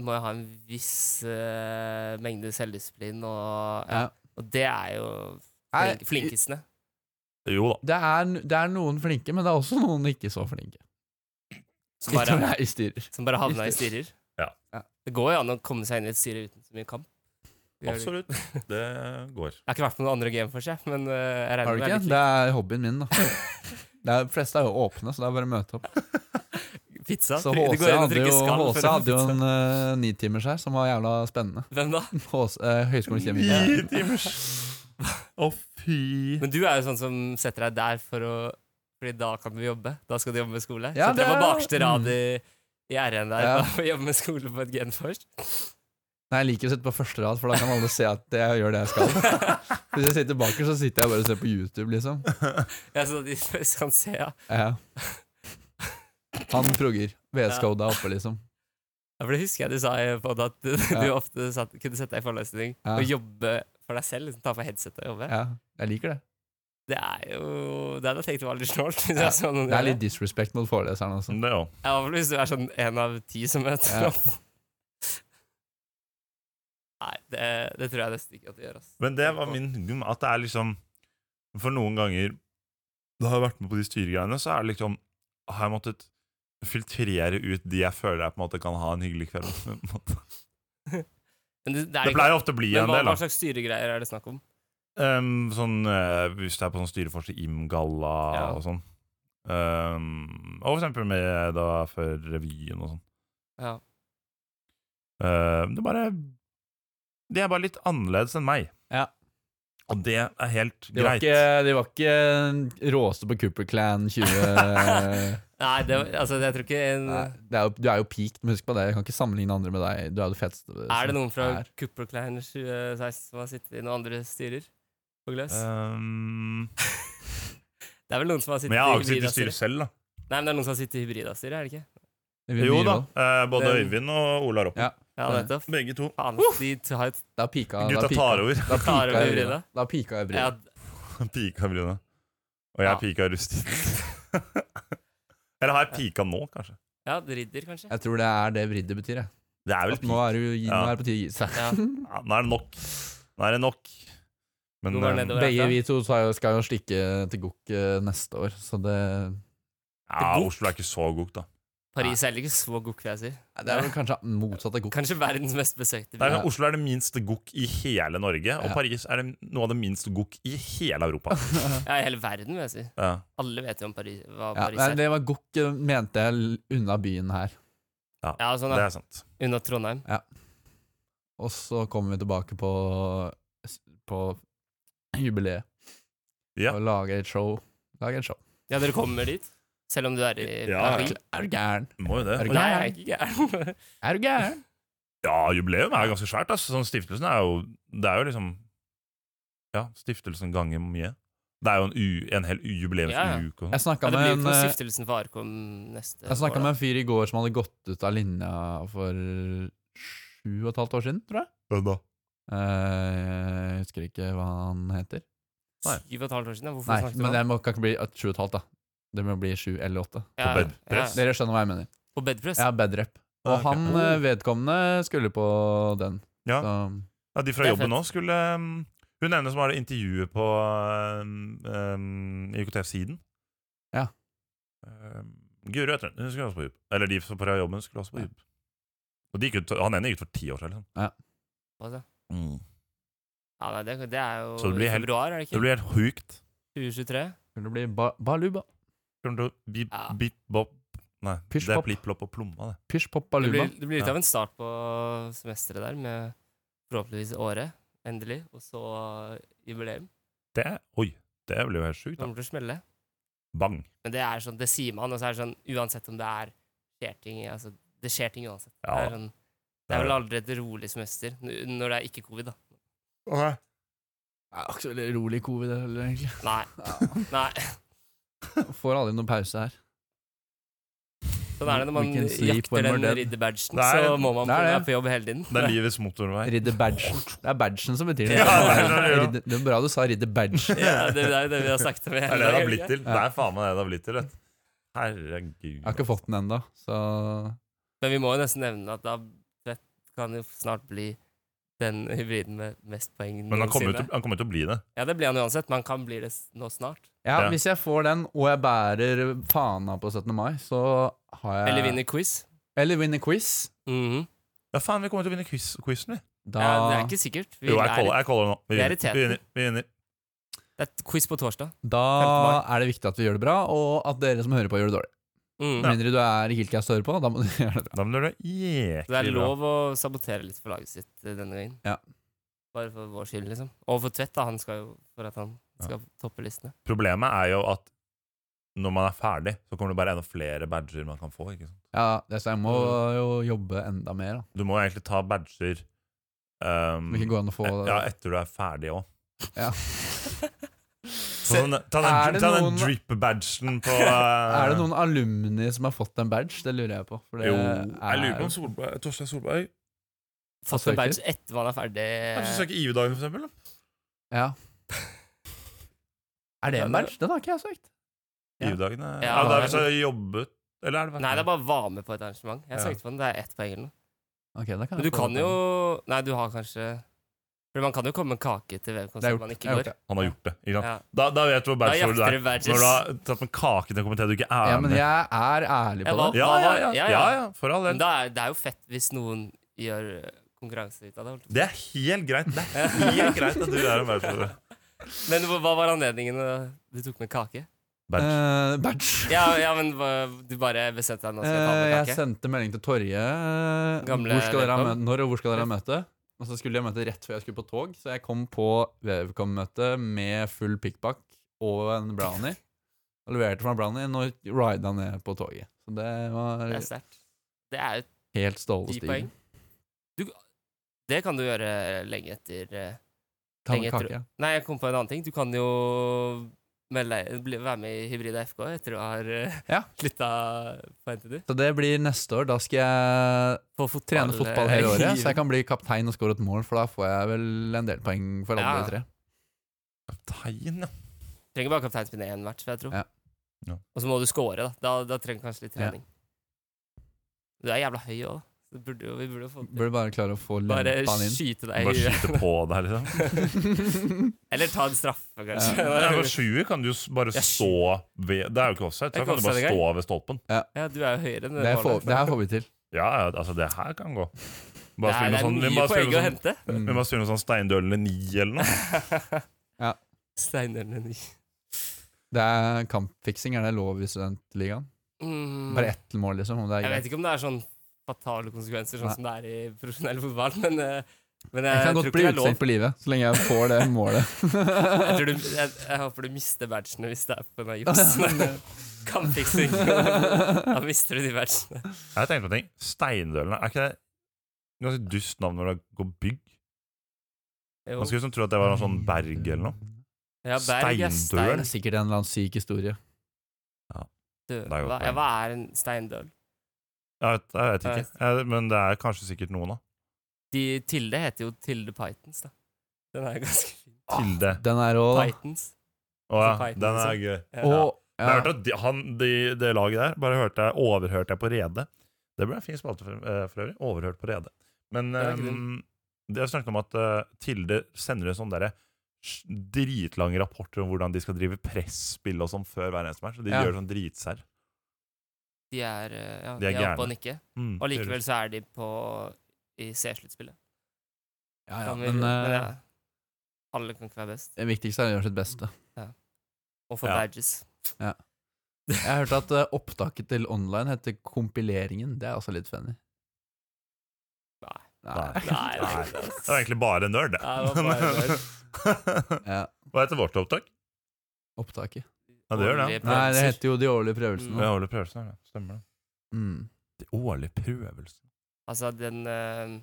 Må jo ha en viss eh, mengde selvdisiplin, og, ja.
Ja.
og det er jo
Nei,
flink, flinkesene.
Jo da.
Det, er- det er noen flinke, men det er også noen ikke så flinke.
Som
Som
bare,
er i styrer.
som bare havna i styrer.
Ja.
Ja.
Det går jo an å komme seg inn i et styre uten så mye kamp. Det gjør det.
Absolutt. Det går.
Jeg har ikke vært på noen andre game for seg, men eh, jeg
Har
regner
du
med
ikke?
det
Det er hobbyen min, da. Det er, de fleste er jo åpne, så det er bare å møte opp.
er litt pizza.
Så
Du går
HC
inn og
hadde
trykker
jo,
skall
HC
for å få
hadde jo
pizza.
en uh, nitimers her som var jævla spennende.
Hvem da?
HC, eh, Høgskolens
Ni
hjemmekjemi.
timers Å, fy.
Men du er jo sånn som setter deg der for å Fordi da kan du jobbe. Da skal du jobbe med skole.
Ja,
setter deg
det
på
er- Mm.
bakste rad i, i RN der
Ja.
og jobbe med skole på et Genforce.
Nei, jeg liker å sitte på første rad, for da kan alle se at jeg gjør det jeg skal. Hvis jeg sitter bakerst, så sitter jeg bare og ser på YouTube, liksom.
Ja, så de først kan se, ja.
Ja. Han progger. VS Code er oppe, liksom.
Ja, For det husker jeg du sa i podd, at du, du
Ja.
ofte satt, kunne sette deg i forelesning
Ja.
og jobbe for deg selv. Liksom, ta på headsetet og jobbe.
Ja, jeg liker det.
Det er jo Det hadde jeg tenkt var litt snålt. Hvis
Ja,
jeg så noen
Det er
gjøre
litt disrespect mot altså. foreleseren også.
Sånn Det òg.
Ja, i hvert fall hvis du er sånn en av ti som møter
Ja.
opp. Nei, det, det tror jeg nesten ikke at du gjør. Ass.
Men det var min gum, at det er liksom For noen ganger da har jeg vært med på de styregreiene, så er det liksom Har jeg måttet filtrere ut de jeg føler jeg på en måte kan ha en hyggelig kveld med. på en måte.
Men det, det, er
Det
ikke,
pleier ofte å bli
men
en
hva,
del,
hva
da.
slags styregreier er det snakk om?
Ehm, sånn, eh, hvis det er på sånn styreforsk i IM-galla
Ja.
og sånn. Ehm, og for eksempel med da før revyen og sånn.
Ja.
Ehm, det er bare Det er bare litt annerledes enn meg.
Ja.
Og det er helt
De var
greit.
ikke, de var ikke råeste på Cooper Clan 20 Nei,
Nei, det, var- altså, jeg tror ikke en,
det er jo, Du er jo peaked, men husk på det. Jeg kan ikke sammenligne andre med deg. Du er jo det feteste.
Er det noen fra
er.
Cooper Klein 2016 som har sittet i noen andre styrer på Gløs?
Ehm,
det er vel noen som har sittet
men jeg har jo ikke sittet i
Hybrida-styret?
styret selv, da.
Nei, men det er noen som har sittet i Hybrida-styret, er det ikke?
Vi
Jo
begynner
da.
med det.
eh, både
Den-
Øyvind og Ola Ropp.
Ja.
Ja,
Nei.
nettopp.
Begge to.
Faen, de tar et
Da pika da
Gutta
pika-
tar over.
Da pika
Tar over
jeg bryna.
Brynja.
Da pika jeg bryna.
ja,
Pika Bryne. Og jeg
Ja.
pika Rustin. Eller har jeg pika nå, kanskje?
ja, ridder, kanskje?
Jeg tror det er det vriddet betyr. Jeg.
Det er vel
At nå
pika.
er det jo gi-
Ja.
nå er det på tide å gi seg.
Ja.
Ja, nå er det nok. Nå er det nok. Men
Nå går det
eh,
nedover.
Begge
herfra.
vi to sa jo- skal jo stikke til Gokk eh, neste år, så det
ja,
Gokk?
Oslo er ikke så god, da.
Paris er heller ikke så god, vil jeg si.
Nei, Det er vel kanskje motsatt av Gokk.
Kanskje verdens mest besøkte
Det er
by.
sånn, Oslo er det minste gokk i hele Norge, og
Ja.
Paris er det, noe av det minste gokk i hele Europa.
Ja, i hele verden, vil jeg si.
Ja.
Alle vet jo om Paris, hva
Ja,
Paris
nei,
er.
det var Gokk, eh, mente jeg, l- unna byen her.
Ja, sånn
Det
da.
er sant.
Unna Trondheim.
Og så kommer vi tilbake på, på jubileet.
Ja.
Og lager et show. Lager et show.
Ja, dere kommer dit? Selv om du er i
Ja,
Paris?
Er du gæren?
Må jo det.
Er du
Nei, jeg er ikke gæren.
Er du gæren?
Ja, jubileum er jo ganske svært. Altså. Sånn, stiftelsen er jo Det er jo liksom Ja, stiftelsen ganger mye. Det er jo en, u, en hel
Ja, ja.
jubileumsuke. og sånn.
Jeg snakka
Ja, det
med
blir jo
en
ikke noe
eh,
Stiftelsen for Arkom neste
Jeg snakka
år,
med
da.
en fyr i går som hadde gått ut av linja for sju og et halvt år siden, tror jeg.
Ja, da.
Eh, Jeg husker ikke hva han heter.
Nei.
Syv og et halvt år siden? da. Hvorfor
Nei,
snakket du
men
om
det må kan ikke bli at sju og et halvt, da. Det må bli sju eller åtte.
Ja, Ja,
bedpress.
Dere skjønner hva jeg mener.
på bedpress?
Ja, bedrep. Og
Ok.
han eh, vedkommende skulle på den.
Ja.
Så,
Ja, de fra
Det er
jobben
fett.
nå skulle um, Hun ene som har det intervjuet på um, um, IKT-siden.
Ja.
Um, Guri heter hun. Hun skulle også på jobb. Eller de som fra jobben skulle også på jobb. Og de gikk ut, han ene gikk ut for ti år siden. Liksom.
Altså. Ja, nei, det, det er jo
Så det blir
i
helt-
februar, er det
Det
ikke?
blir helt hukt.
2023?
skulle det bli ba baluba.
Kommer til å bip,
Ja.
bip, bop Nei,
Pish,
det er
pop.
plipp-plopp og plomma, det.
Pysj pop
Det
baluba.
blir, det blir litt
Ja.
av en start på semesteret der, med forhåpentligvis året, endelig, og så jubileum.
Det, oi, det blir jo helt
Det
sjukt, da.
kommer til å smelle.
Bang.
Men det er sånn, det sier man, og så er det sånn, uansett om det er skjer ting, altså, det skjer ting uansett. Det,
Ja,
er sånn, det er vel aldri et rolig semester, n- når det er ikke covid, da.
Det er ikke så veldig rolig covid heller, egentlig.
Nei. Nei.
Får aldri noen pause her.
Sånn er det når
We
man
can sleep when
jakter den
we're dead.
ridderbadgen,
Det er
så
en-
må man
det er
være
det.
på jobb hele tiden.
Det er livets motorvei.
Ridder badgen. Det er badgen som betyr det.
Ja, det er det, ja.
Ridder- det er bra du sa ridder badge.
Ja, det er jo det vi har snakket om. i
Det
hele
er det det
dag,
har
ikke?
blitt til.
Ja.
Det er faen meg det det har blitt til. vet du. Herregud.
Jeg har ikke fått den ennå, så
Men vi må jo nesten nevne at da det kan jo snart bli den hybriden med mest poeng
Men han kommer jo
noensinne.
til, han kommer til å bli det.
Ja, det blir han uansett, men han kan bli det s- nå snart.
ja,
Ja.
Hvis jeg får den, og jeg bærer fana på 17. mai, så har jeg
Eller vinner quiz.
Eller vinner quiz.
Mhm.
Ja, faen, vi kommer til å vinne quiz quizen, vi.
Da
ja, det er ikke sikkert. Vi
Jo, jeg
er-
caller, jeg caller nå. Vi
Vi er i
vinner. Vi
teten.
vinner. Vi vinner.
det er et quiz på torsdag.
Da er det viktig at vi gjør det bra, og at dere som hører på, gjør det dårlig.
Mhm.
Med mindre du er Hillcast og hører på, da må du gjøre det bra.
Da blir det
Så det er
jæklig bra.
lov å sabotere litt for laget sitt eh, denne gangen.
Ja.
Bare for vår skyld, liksom. Og for Tvedt, da. Han skal jo for at han skal toppe listene.
Problemet er jo at når man er ferdig, så kommer det bare enda flere badger man kan få. ikke sant?
Ja, det, så jeg må jo jobbe enda mer, da.
Du må egentlig ta badger um,
Om det ikke går an å få
e- Ja, etter du er ferdig òg.
Ja.
Sånn, ta
Er
den,
det
ta den
noen-
drip-badgen på eh,
Er det noen alumni som har fått en badge? Det lurer jeg på. For det
Jo,
er-
jeg lurer på om Solberg, Torstein Solberg
Fått
søker.
en badge etter man er ferdig.
Kanskje søke IU-dagen, for eksempel? da?
Ja. Er det en badge? Den har ikke jeg søkt. Ja.
IU-dagen er ja,
Ja,
det er
det
hvis
er-
du har jobbet Eller er det
Nei, det er bare var med på et arrangement. Jeg
Ja.
søkte på den. Det er ett poeng eller noe.
Ok, da kan
Men
jeg
du
få
kan
den.
jo Nei, du har kanskje For man kan jo komme med kake til hvem
Det er
konsert
gjort.
man ikke
Jeg har gjort
går.
det.
Han har gjort det. Ikke sant?
Ja.
Da, da vet du hvor
Da
bachelor du
jakter
er.
du badges.
Når du har tatt med kake til en komité du ikke er
Ja, men
med.
jeg er ærlig på
Jeg var-
det.
Ja, ja, ja,
Ja, ja.
ja, ja, ja, for all
Men
del.
da er, det er jo fett hvis noen gjør eh, konkurranse ut av det. holdt jeg på å si.
Det er helt greit. Det er helt greit at du er en verdensmester.
Men hva hva var anledningen eh, du tok med kake?
Badge.
Eh, badge.
Ja, ja men hva- du bare bestemte deg nå skal jeg ta
Eh,
med
jeg
kake?
sendte melding til Torje.
Gamle
Hvor skal dere ha
Vevcom.
møte, når og hvor skal dere ha møte? Og så skulle jeg møte rett før jeg skulle på tog, så jeg kom på Vevcom-møte med full pikkpakk og en brownie. Og leverte fra brownien og rida ned på toget. Så det var
Det er sterkt. Det er jo
helt Ståle
ti
Stig.
poeng. Du, det kan du gjøre lenge etter eh,
Ta med
Lenge etter-
kake.
Nei, jeg kom på en annen ting. Du kan jo melde, deg- bli, være med i Hybrida FK etter du har uh,
Ja.
slutta på NTNU.
Så det blir neste år. Da skal jeg
På fotball,
trene fotball hele
eh,
året, så jeg kan bli kaptein og score et mål, for da får jeg vel en del poeng for alle
Ja.
tre.
Tegn, ja.
Trenger bare kapteinspinne én match, vil jeg tro.
Ja.
Ja.
Og så må du score, da. Da, da trenger du kanskje litt
Ja.
trening. Du er jævla høy òg, da. Så burde jo, vi burde jo få til
Burde bare klare å få
Bare
lempa han inn.
skyte deg i
Bare
huet.
skyte på deg, liksom.
Eller ta en straffe, kanskje.
Nei, men Sjuer kan du jo s- bare
Ja,
stå ved Det er jo ikke offside.
Det er
Så
ikke
kan du bare
offside
stå ved stolpen.
Ja, du er jo høyere enn
Det her får,
målet.
det her får vi til.
Ja, ja, altså, det her kan gå.
Det
Bare
er,
spille
det
noe
er
sånn, vi
mye poeng
bare spille
å
noe sånn,
hente.
vi bare spille noe sånn Steindøl eller Ni eller noe.
Steinerne ni.
Det er kampfiksing, er det lov i studentligaen?
Mm.
Bare ett mål, liksom? Om det er
Jeg vet
greit.
ikke om det er sånn fatale konsekvenser, sånn
Nei.
som det er i profesjonell fotball, men, eh, men jeg,
Jeg kan
tror
godt
ikke
bli
det er lov.
utestengt på livet, så lenge jeg får det målet.
Jeg, tror du, jeg, jeg håper du mister badgene hvis det er på denne juksen. Kampfiksing. Da mister du de badgene.
Jeg tenkte på en ting. Steindølene, er ikke det et ganske dust navn når det går bygg?
Jo.
Man skulle liksom tro at det var noe sånn Berg eller noe.
Ja, berg er
Det
stein.
Steindøl.
er sikkert en eller annen syk historie.
Det er jo
Hva, ja, hva er en steindøl?
Jeg vet, jeg vet ikke. Jeg, men det er kanskje sikkert noen, da.
De Tilde heter jo Tilde Pythons, da. Den er ganske fin.
Tilde.
Den er òg
Pythons.
Å ja,
så Python,
den er
liksom.
gøy.
Ja.
Og
Jeg
ja,
hørte at de, han, de, det laget der bare hørte jeg, overhørte jeg på Rede. Det ble en fin spalte for, eh, for øvrig. Overhørt på Rede. Men
Det er ikke
um, det har snakket om at eh, Tilde sender en sånn derre sj- dritlange rapporter om hvordan de skal drive presspill og sånn før hver eneste match. Og de
Ja.
gjør sånn dritsær.
De er, eh, ja,
De
de
er
er, oppe
gærne.
og nikker.
Mm,
Og
det gjør
likevel så er de på i C-sluttspillet.
ja, ja,
Kan vi-
men
men
eh,
ja, alle kan ikke være best.
det viktigste er å gjøre sitt beste.
Og for
Ja.
badges.
Jeg hørte at eh, opptaket til online heter kompileringen. Det er også litt funny.
Nei.
Nei.
Nei, det er
Nei.
ikke det, ass.
Det var egentlig bare nerd, det.
Nei, det var bare
Ja,
Hva heter vårt opptak?
opptaket.
Ja, det gjør det.
Nei,
Årlige
det
prøvelser.
heter jo de årlige prøvelsene.
Det er årlige prøvelser. ja. Stemmer det.
Mm.
De årlige prøvelsene.
Altså, den eh,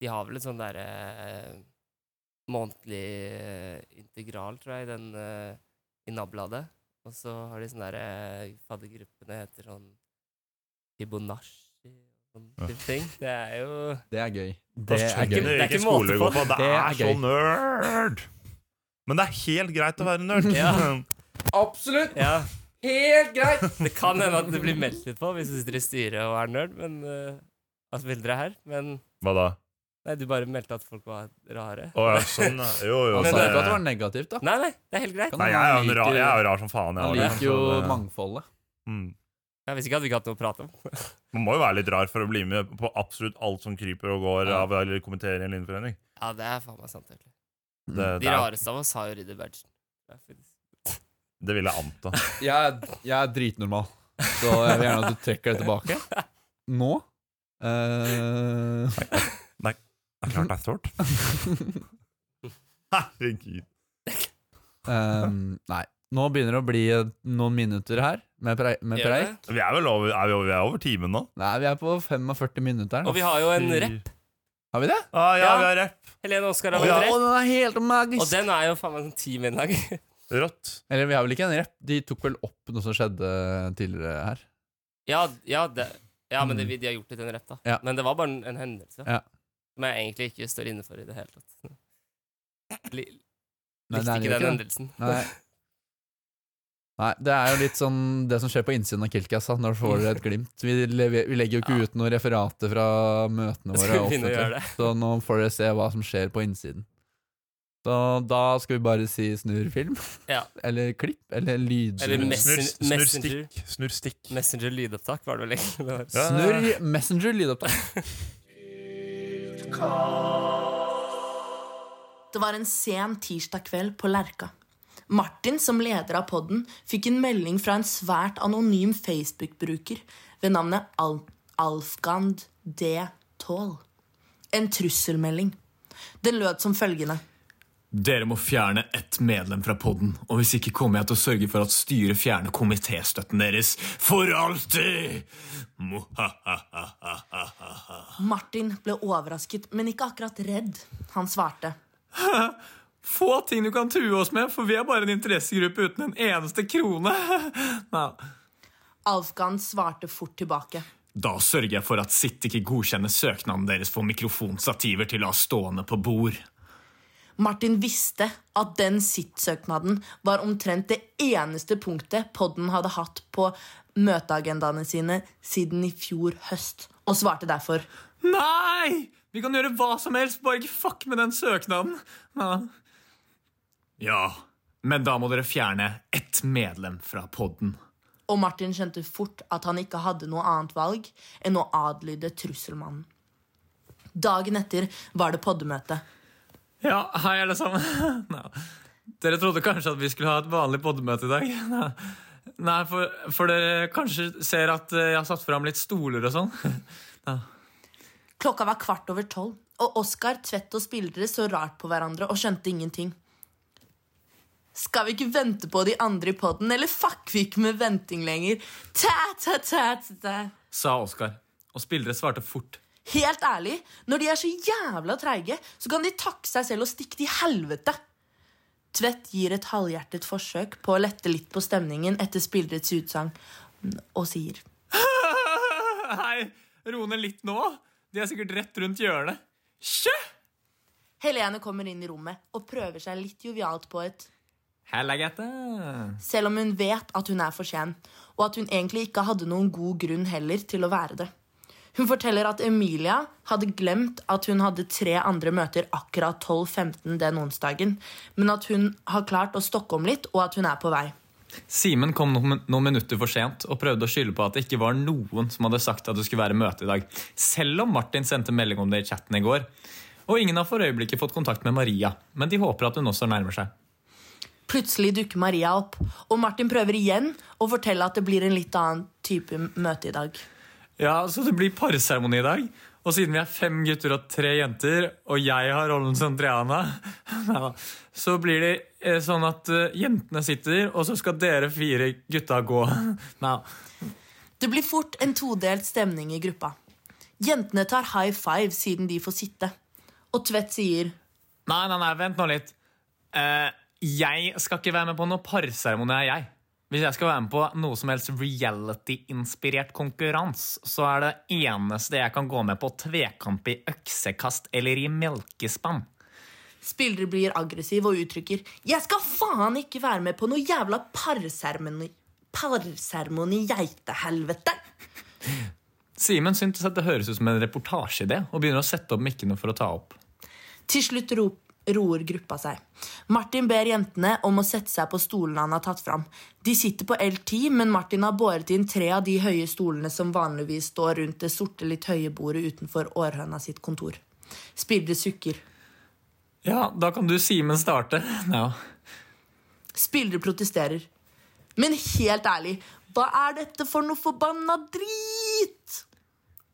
De har vel et sånn derre eh, månedlig eh, integral, tror jeg, i den eh, i NAB-bladet. Og så har de sånne derre eh, faddergruppene heter sånn Hibonashi og sånne
Ja.
type ting. Det er jo
Det er gøy. Det
Norsk
er
ikke-
gøy.
det er
Hvilken
måte
skole vi
på.
går på. Det
Det
er
er
så
gøy.
nerd! Men det er helt greit å være nerd.
Ja.
Absolutt!
Ja,
Helt greit!
det kan hende at det blir meldt litt på hvis du sitter i styret og er nerd, men eh, at bilder er her. Men
Hva da?
nei, du bare meldte at folk var rare.
Å ja, sånn. ja. Jo, jo.
Han
Men
sa
det-
jo ikke at det var negativt, da.
Nei, nei, det er helt greit.
Nei, jeg er jo en rar, jeg er jo rar som faen. Jeg,
Han
også,
liker jo
liksom, så det-
mangfoldet.
Mm.
Jeg visste ikke at vi ikke hadde noe å prate om.
Man må jo være litt rar for å bli med på absolutt alt som kryper og går
Ja.
av eller kommenterer i en linjeforening.
Ja, det er faen meg sant. egentlig.
Mm.
Det, det,
De
er-
rareste av oss har jo Ridder Badgen. Det er faktisk-
det vil jeg anta.
Jeg, er- jeg er dritnormal, så jeg vil gjerne at du trekker det tilbake. Nå? Eh,
Det er klart det er stort. Herregud.
ehm, nei. Nå begynner det å bli eh, noen minutter her med, prei, med
Gjør
preik.
det?
Vi er vel over, er vi over, vi er over timen nå?
Nei, vi er på 45 minutter.
Og vi har jo en rep.
Har vi det?
Ah, ja,
Ja.
vi har rep.
Helene Oskar
Å,
har en rep.
den er helt
Og
magisk!
den er jo faen meg sånn ti min dag.
Rått.
Eller vi har vel ikke en rep? De tok vel opp noe som skjedde tidligere her.
Ja, ja, det, ja men det, vi- de har gjort det til en rep, da.
Mm. Ja.
Men det var bare en, en hendelse.
Ja.
Som jeg egentlig ikke står inne for i det hele tatt. Li,
Nei, det er
likte ikke
jo
den
ikke det.
hendelsen.
Nei. Nei, det er jo litt sånn det som skjer på innsiden av Kilkas, da, når du får et glimt. Vi, lever, vi legger jo ikke
Ja.
ut noen referater fra møtene
Jeg
våre,
skulle begynne å
offentlig,
gjøre det.
så nå får dere se hva som skjer på innsiden. Så da skal vi bare si snurrfilm,
Ja.
eller klipp, eller
Eller
lydsnurr.
mess-
Snurr snurr
Messenger.
stikk. Snurr stikk.
Messenger lydopptak var det vel egentlig. det var.
Ja.
Snurr Messenger lydopptak.
Helt Det var en sen tirsdag kveld på Lerka. Martin, som leder av podden, fikk en melding fra en svært anonym Facebook-bruker ved navnet Al Alfgand D. Tall. En trusselmelding. Den lød som følgende.
Dere må fjerne ett medlem fra podden, og hvis ikke kommer jeg til å sørge for at styret fjerner komitéstøtten deres for alltid! Mohahahaha.
Martin ble overrasket, men ikke akkurat redd. Han svarte.
Få ting du kan true oss med, for vi er bare en interessegruppe uten en eneste krone. Nei.
Alfgand svarte fort tilbake.
Da sørger jeg for at Sitt ikke godkjenner søknaden deres for mikrofonstativer til å ha stående på bord.
Martin visste at den sitt-søknaden var omtrent det eneste punktet podden hadde hatt på møteagendaene sine siden i fjor høst, og svarte derfor.
Nei! Vi kan gjøre hva som helst, bare ikke fuck med den søknaden. Ja. ja, men da må dere fjerne ett medlem fra podden.
Og Martin skjønte fort at han ikke hadde noe annet valg enn å adlyde trusselmannen. Dagen etter var det poddemøte.
Ja, hei alle sammen. Nei. Dere trodde kanskje at vi skulle ha et vanlig poddemøte i dag. Nei, Nei, for, for dere kanskje ser at eh, jeg har satt fram litt stoler og sånn.
Klokka var kvart over tolv, og Oskar, Tvedt og spillere så rart på hverandre og skjønte ingenting. Skal vi ikke vente på de andre i podden, eller fucker vi ikke med venting lenger? Tæ, tæ, tæ, tæ, tæ.
Sa Oskar. Og spillere svarte fort.
Helt ærlig, når de er så jævla treige, så kan de takke seg selv og stikke til helvete. Tvedt gir et halvhjertet forsøk på å lette litt på stemningen etter spillerets utsagn, og sier
Hei, ro ned litt nå. De er sikkert rett rundt hjørnet. Sjø!
Helene kommer inn i rommet og prøver seg litt jovialt på et
Hella, Gaute.
selv om hun vet at hun er for sen, og at hun egentlig ikke hadde noen god grunn heller til å være det. Hun forteller at Emilia hadde glemt at hun hadde tre andre møter akkurat 12.15 den onsdagen, men at hun har klart å stokke om litt, og at hun er på vei.
Simen kom noen noen minutter for sent og prøvde å skylde på at det ikke var noen som hadde sagt at det skulle være møte i dag, selv om Martin sendte melding om det i chatten i går. Og ingen har for øyeblikket fått kontakt med Maria, men de håper at hun også nærmer seg.
Plutselig dukker Maria opp, og Martin prøver igjen å fortelle at det blir en litt annen type møte i dag.
Ja, så det blir parseremoni i dag. Og siden vi er fem gutter og tre jenter, og jeg har rollen som Triana, Neida. så blir det eh, sånn at eh, jentene sitter, og så skal dere fire gutta gå. Neida.
Det blir fort en todelt stemning i gruppa. Jentene tar high five siden de får sitte, og Tvedt sier
Nei, nei, nei, vent nå litt. Eh, jeg skal ikke være med på noe parseremoni, er jeg. Hvis jeg skal være med på noe som helst reality-inspirert konkurranse, så er det eneste jeg kan gå med på tvekamp i øksekast eller i melkespann.
Spillere blir aggressiv og uttrykker 'Jeg skal faen ikke være med på noe jævla parseremoni', parseremoni geitehelvete.
Simen syntes at det høres ut som en reportasjeidé, og begynner å sette opp mikkene for å ta opp.
Til slutt ro roer gruppa seg. Martin ber jentene om å sette seg på stolene han har tatt fram. De sitter på L10, men Martin har båret inn tre av de høye stolene som vanligvis står rundt det sorte, litt høye bordet utenfor Århøna sitt kontor. Spillere sukker.
Ja, da kan du Simen starte. Ja.
Spillere protesterer. Men helt ærlig, hva er dette for noe forbanna drit?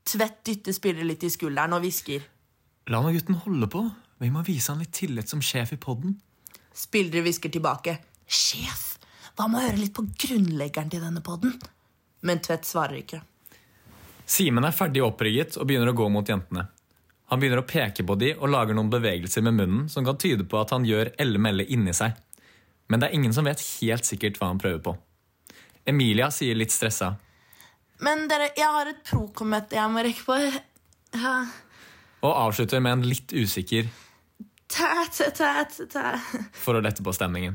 Tvedt dytter spillere litt i skulderen og hvisker.
La nå gutten holde på. Vi må vise han litt tillit som sjef i podden.
Spillere hvisker tilbake. Sjef, hva med å høre litt på grunnleggeren til denne podden? Men Tvedt svarer ikke.
Simen er ferdig opprigget og begynner å gå mot jentene. Han begynner å peke på de og lager noen bevegelser med munnen som kan tyde på at han gjør ellemelle inni seg. Men det er ingen som vet helt sikkert hva han prøver på. Emilia sier litt stressa.
Men dere, jeg har et prokommøte jeg må rekke på. Ja,
Og avslutter med en litt usikker
tæ, tæ, tæ, tæ, tæ.
for å lette på stemningen.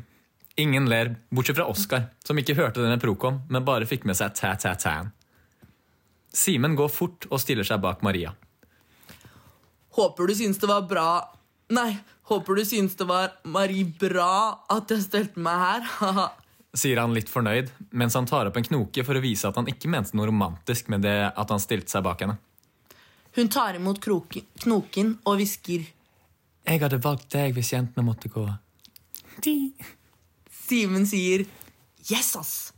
Ingen ler, bortsett fra Oskar, som ikke hørte denne prokom, men bare fikk med seg tæ-tæ-tæen. Simen går fort og stiller seg bak Maria.
Håper du syns det var bra Nei, håper du syns det var Marie bra at jeg stelte meg her. Haha.
Sier han litt fornøyd, mens han tar opp en knoke for å vise at han ikke mente noe romantisk med det at han stilte seg bak henne.
Hun tar imot kroken, knoken og hvisker.
Jeg hadde valgt deg hvis jentene måtte gå.
Simen sier 'yes, ass'.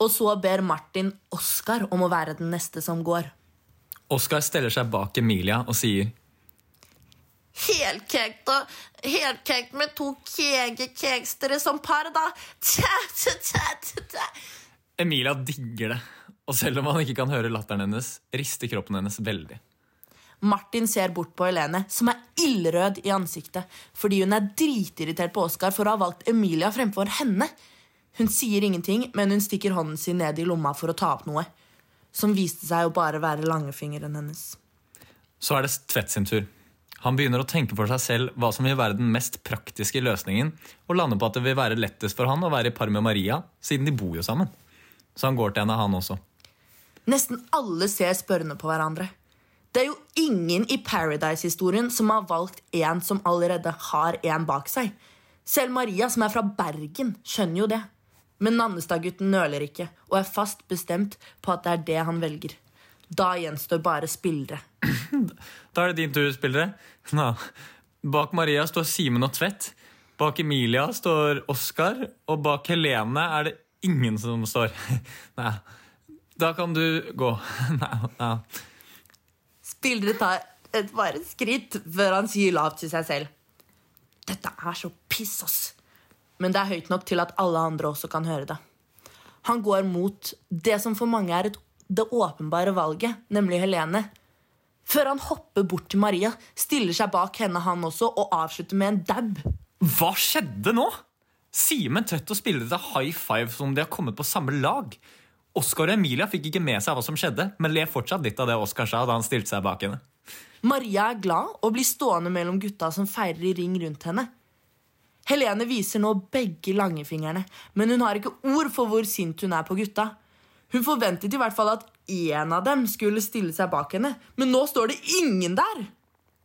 Og så ber Martin Oskar om å være den neste som går.
Oskar steller seg bak Emilia og sier
Helkekt og helkekt med to kegekekstere som par, da. Tja, tja, tja, tja, tja.
Emilia digger det. Og selv om han ikke kan høre latteren hennes, rister kroppen hennes veldig.
Martin ser bort på Helene, som er ildrød i ansiktet, fordi hun er dritirritert på Oskar for å ha valgt Emilia fremfor henne. Hun sier ingenting, men hun stikker hånden sin ned i lomma for å ta opp noe, som viste seg å bare være langfingeren hennes.
Så er det Tvedt sin tur. Han begynner å tenke for seg selv hva som vil være den mest praktiske løsningen, og lander på at det vil være lettest for han å være i par med Maria, siden de bor jo sammen. Så han går til henne, han også.
Nesten alle ser spørrende på hverandre. Det er jo ingen i Paradise-historien som har valgt en som allerede har en bak seg. Selv Maria, som er fra Bergen, skjønner jo det. Men Nannestad-gutten nøler ikke og er fast bestemt på at det er det han velger. Da gjenstår bare spillere.
Da er det din tur, spillere. Nå. Bak Maria står Simen og Tvedt. Bak Emilia står Oskar. Og bak Helene er det ingen som står. Nei. Da kan du gå. Nei. Nei.
Spillere tar et bare skritt før han sier lavt til seg selv. Dette er så piss, ass. Men det er høyt nok til at alle andre også kan høre det. Han går mot det som for mange er et, det åpenbare valget, nemlig Helene. Før han hopper bort til Maria, stiller seg bak henne han også og avslutter med en dab.
Hva skjedde nå? Simen Tvedt og spillere til high five som om de har kommet på samme lag. Oskar og Emilia fikk ikke med seg hva som skjedde, men ler fortsatt litt av det Oskar sa da han stilte seg bak henne.
Maria er glad og blir stående mellom gutta som feirer i ring rundt henne. Helene viser nå begge langefingrene, men hun har ikke ord for hvor sint hun er på gutta. Hun forventet i hvert fall at én av dem skulle stille seg bak henne, men nå står det ingen der!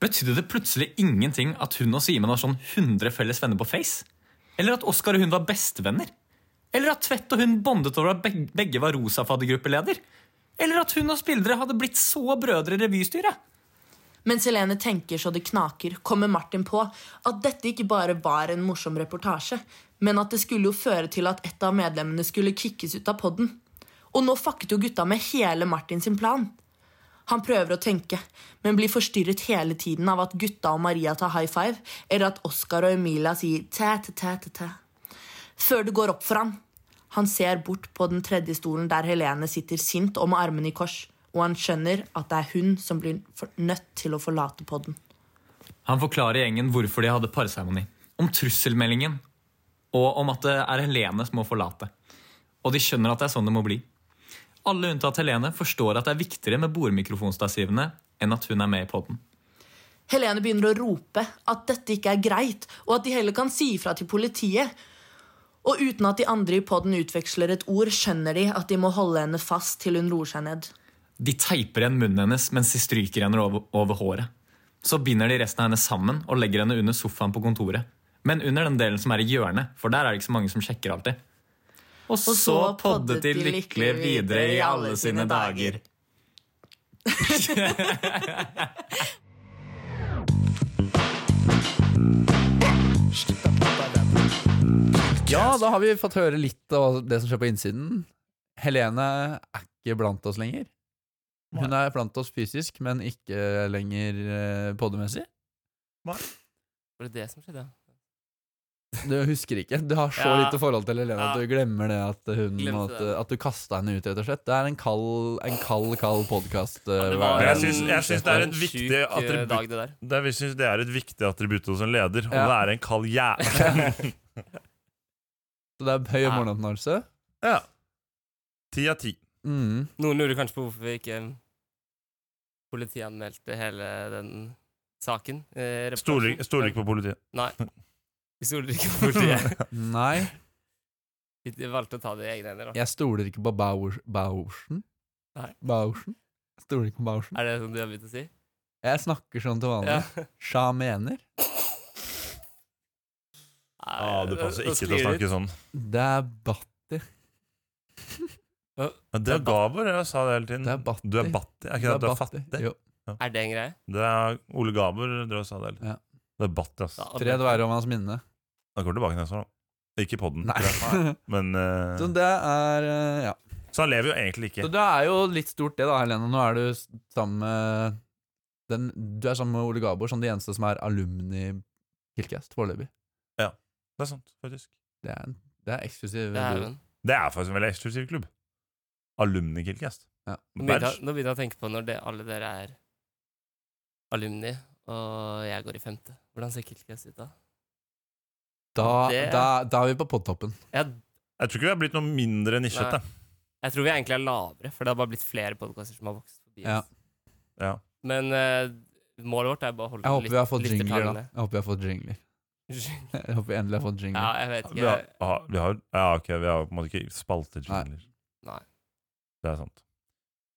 Betydde det plutselig ingenting at hun og Simen har sånn 100 felles venner på Face? Eller at Oskar og hun var bestevenner? Eller at Tvedt og hun bondet over at beg- begge var rosafaddergruppeleder? Eller at hun og spillere hadde blitt så brødre i revystyret?
Mens Helene tenker så det knaker, kommer Martin på at dette ikke bare var en morsom reportasje, men at det skulle jo føre til at et av medlemmene skulle kickes ut av podden. Og nå fucket jo gutta med hele Martin sin plan. Han prøver å tenke, men blir forstyrret hele tiden av at gutta og Maria tar high five, eller at Oskar og Emilia sier tæ-tæ-tæ-tæ. Før det går opp for ham. Han ser bort på den tredje stolen der Helene sitter sint og med armene i kors, og han skjønner at det er hun som blir for- nødt til å forlate podden.
Han forklarer gjengen hvorfor de hadde parseremoni. Om trusselmeldingen. Og om at det er Helene som må forlate. Og de skjønner at det er sånn det må bli. Alle unntatt Helene forstår at det er viktigere med bordmikrofonstativene enn at hun er med i podden.
Helene begynner å rope at dette ikke er greit, og at de heller kan si ifra til politiet. Og uten at de andre i podden utveksler et ord, skjønner de at de må holde henne fast til hun roer seg ned.
De teiper igjen munnen hennes mens de stryker henne over, over håret. Så binder de resten av henne sammen og legger henne under sofaen på kontoret. Men under den delen som er i hjørnet, for der er det ikke så mange som sjekker alltid. Og så,
så
poddet de lykkelig videre i alle sine dager.
Ja, da har vi fått høre litt av det som skjer på innsiden. Helene er ikke blant oss lenger. Hun er blant oss fysisk, men ikke lenger eh, poddemessig.
Var det det som skjedde?
Du husker ikke. Du har så
Ja.
lite forhold til Helene at
Ja.
du glemmer det at, hun,
Glemte
at,
det.
at du kasta henne ut, rett og slett. Det er en kald, en kald, kald eh, podkast.
det
Men
var
jeg
en-
syns- jeg syns det er et
Sjuk,
viktig
eh,
attributt.
dag, det der.
Det, er- vi synes det er et viktig attributt hos en leder. Å
Ja.
være en kald jævel.
Så det er høy morgenoppnåelse.
ja. Ti av ti.
Mm.
Noen lurer kanskje på hvorfor vi ikke eh, politianmeldte hele den saken. eh,
Stoler
reportasjen.
stoler ikke på politiet.
Nei. Vi stoler ikke på politiet.
Nei,
Vi valgte å ta det i egne hender. Da.
jeg stoler ikke på Bauers- Baursen.
Nei.
Baursen? Jeg stoler ikke på Baursen.
Er det sånn du har begynt å si?
Jeg snakker sånn til vanlig.
Ja.
Sja mener.
Ah, du passer
Nå
ikke til å
sklir det ut.
snakke sånn.
Det er Batti.
Men det
Det er
er Gabor jeg sa det hele tiden.
Det er Batti.
Du er Batti. Er ikke det, du er fattig?
Jo.
Er det en greie?
Det er Ole Gaber drev og sa det.
Ja.
eller? Debatt, ass.
Da-
Tre dverger om hans minne.
Han kommer tilbake neste år, da. Ikke i podden,
Nei.
tror jeg. men eh,
Så det er eh, Ja.
Så han lever jo egentlig ikke.
Så det er jo litt stort, det da, Helene. Nå er du s- sammen med den, Du er sammen med Ole Gabor som de eneste som er alumni Kilcast foreløpig.
Det er sant, faktisk.
Det er, en- det er eksklusiv.
Det er
duo.
den.
Det er faktisk en veldig eksklusiv klubb. Alumni Kilcast.
Ja.
Nå begynner, jeg, nå begynner jeg å tenke på når det, alle dere er alumni, og jeg går i femte. Hvordan ser Kiltcast ut da?
Da,
Det-
da, da er vi på podtoppen.
Jeg,
Jeg tror ikke vi har blitt noe mindre nisjete.
jeg tror vi egentlig er lavere, for det har bare blitt flere podkaster som har vokst forbi
Ja.
oss.
Ja.
Men eh, målet vårt er bare å holde
Jeg håper vi har fått
lytter-
jingler, da.
lyttertallene.
Jeg håper vi har fått jingler. Jeg håper vi endelig har fått
Ja,
jingler.
jeg vet
Vi har,
ikke.
aha, vi har, ja, ok, vi har på en måte ikke spaltejingler.
Nei. Nei.
Det er sant.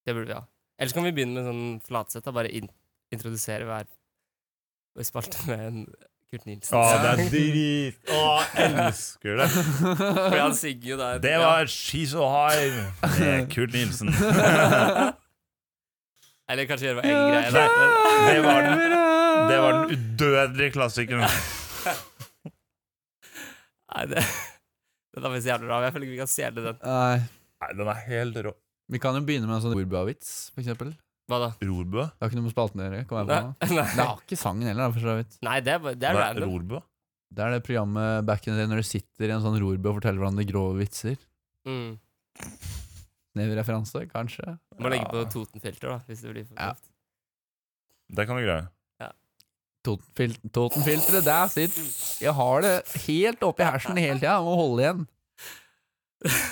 Det burde vi ha. Ellers kan vi begynne med sånn flatsett. da. Bare in introdusere hver hver spalte med en Kurt Nilsen.
Å, det er drit! Å, jeg elsker det!
For han synger jo der.
Det var She's So High med Kurt Nilsen.
Ja. Eller kanskje gjøre en greie. da.
Det var den, det var den udødelige klassikeren.
Nei, det Den er visst jævlig bra. men Jeg føler ikke vi kan stjele den.
Nei,
Nei, den er helt rå.
vi kan jo begynne med en sånn ordbua-vits, for eksempel. Det
Hva da?
Rorbua?
har ikke noe med spalten å gjøre. Kom jeg på
Nei,
nå. Det
nei.
har ikke sangen heller, da, for så vidt.
nei det er, bare- det er
Hva
random.
Rorbua?
Det er det programmet back in the day når du sitter i en sånn rorbue og forteller hverandre grove vitser.
Mm.
Snev-referanse, kanskje.
Du må legge
Ja.
på Totenfilter, da, hvis det blir for
Ja.
tøft.
Det kan du greie.
Totenfil Totenfilteret, der sitt Jeg har det helt oppi hersen hele tida, må holde igjen.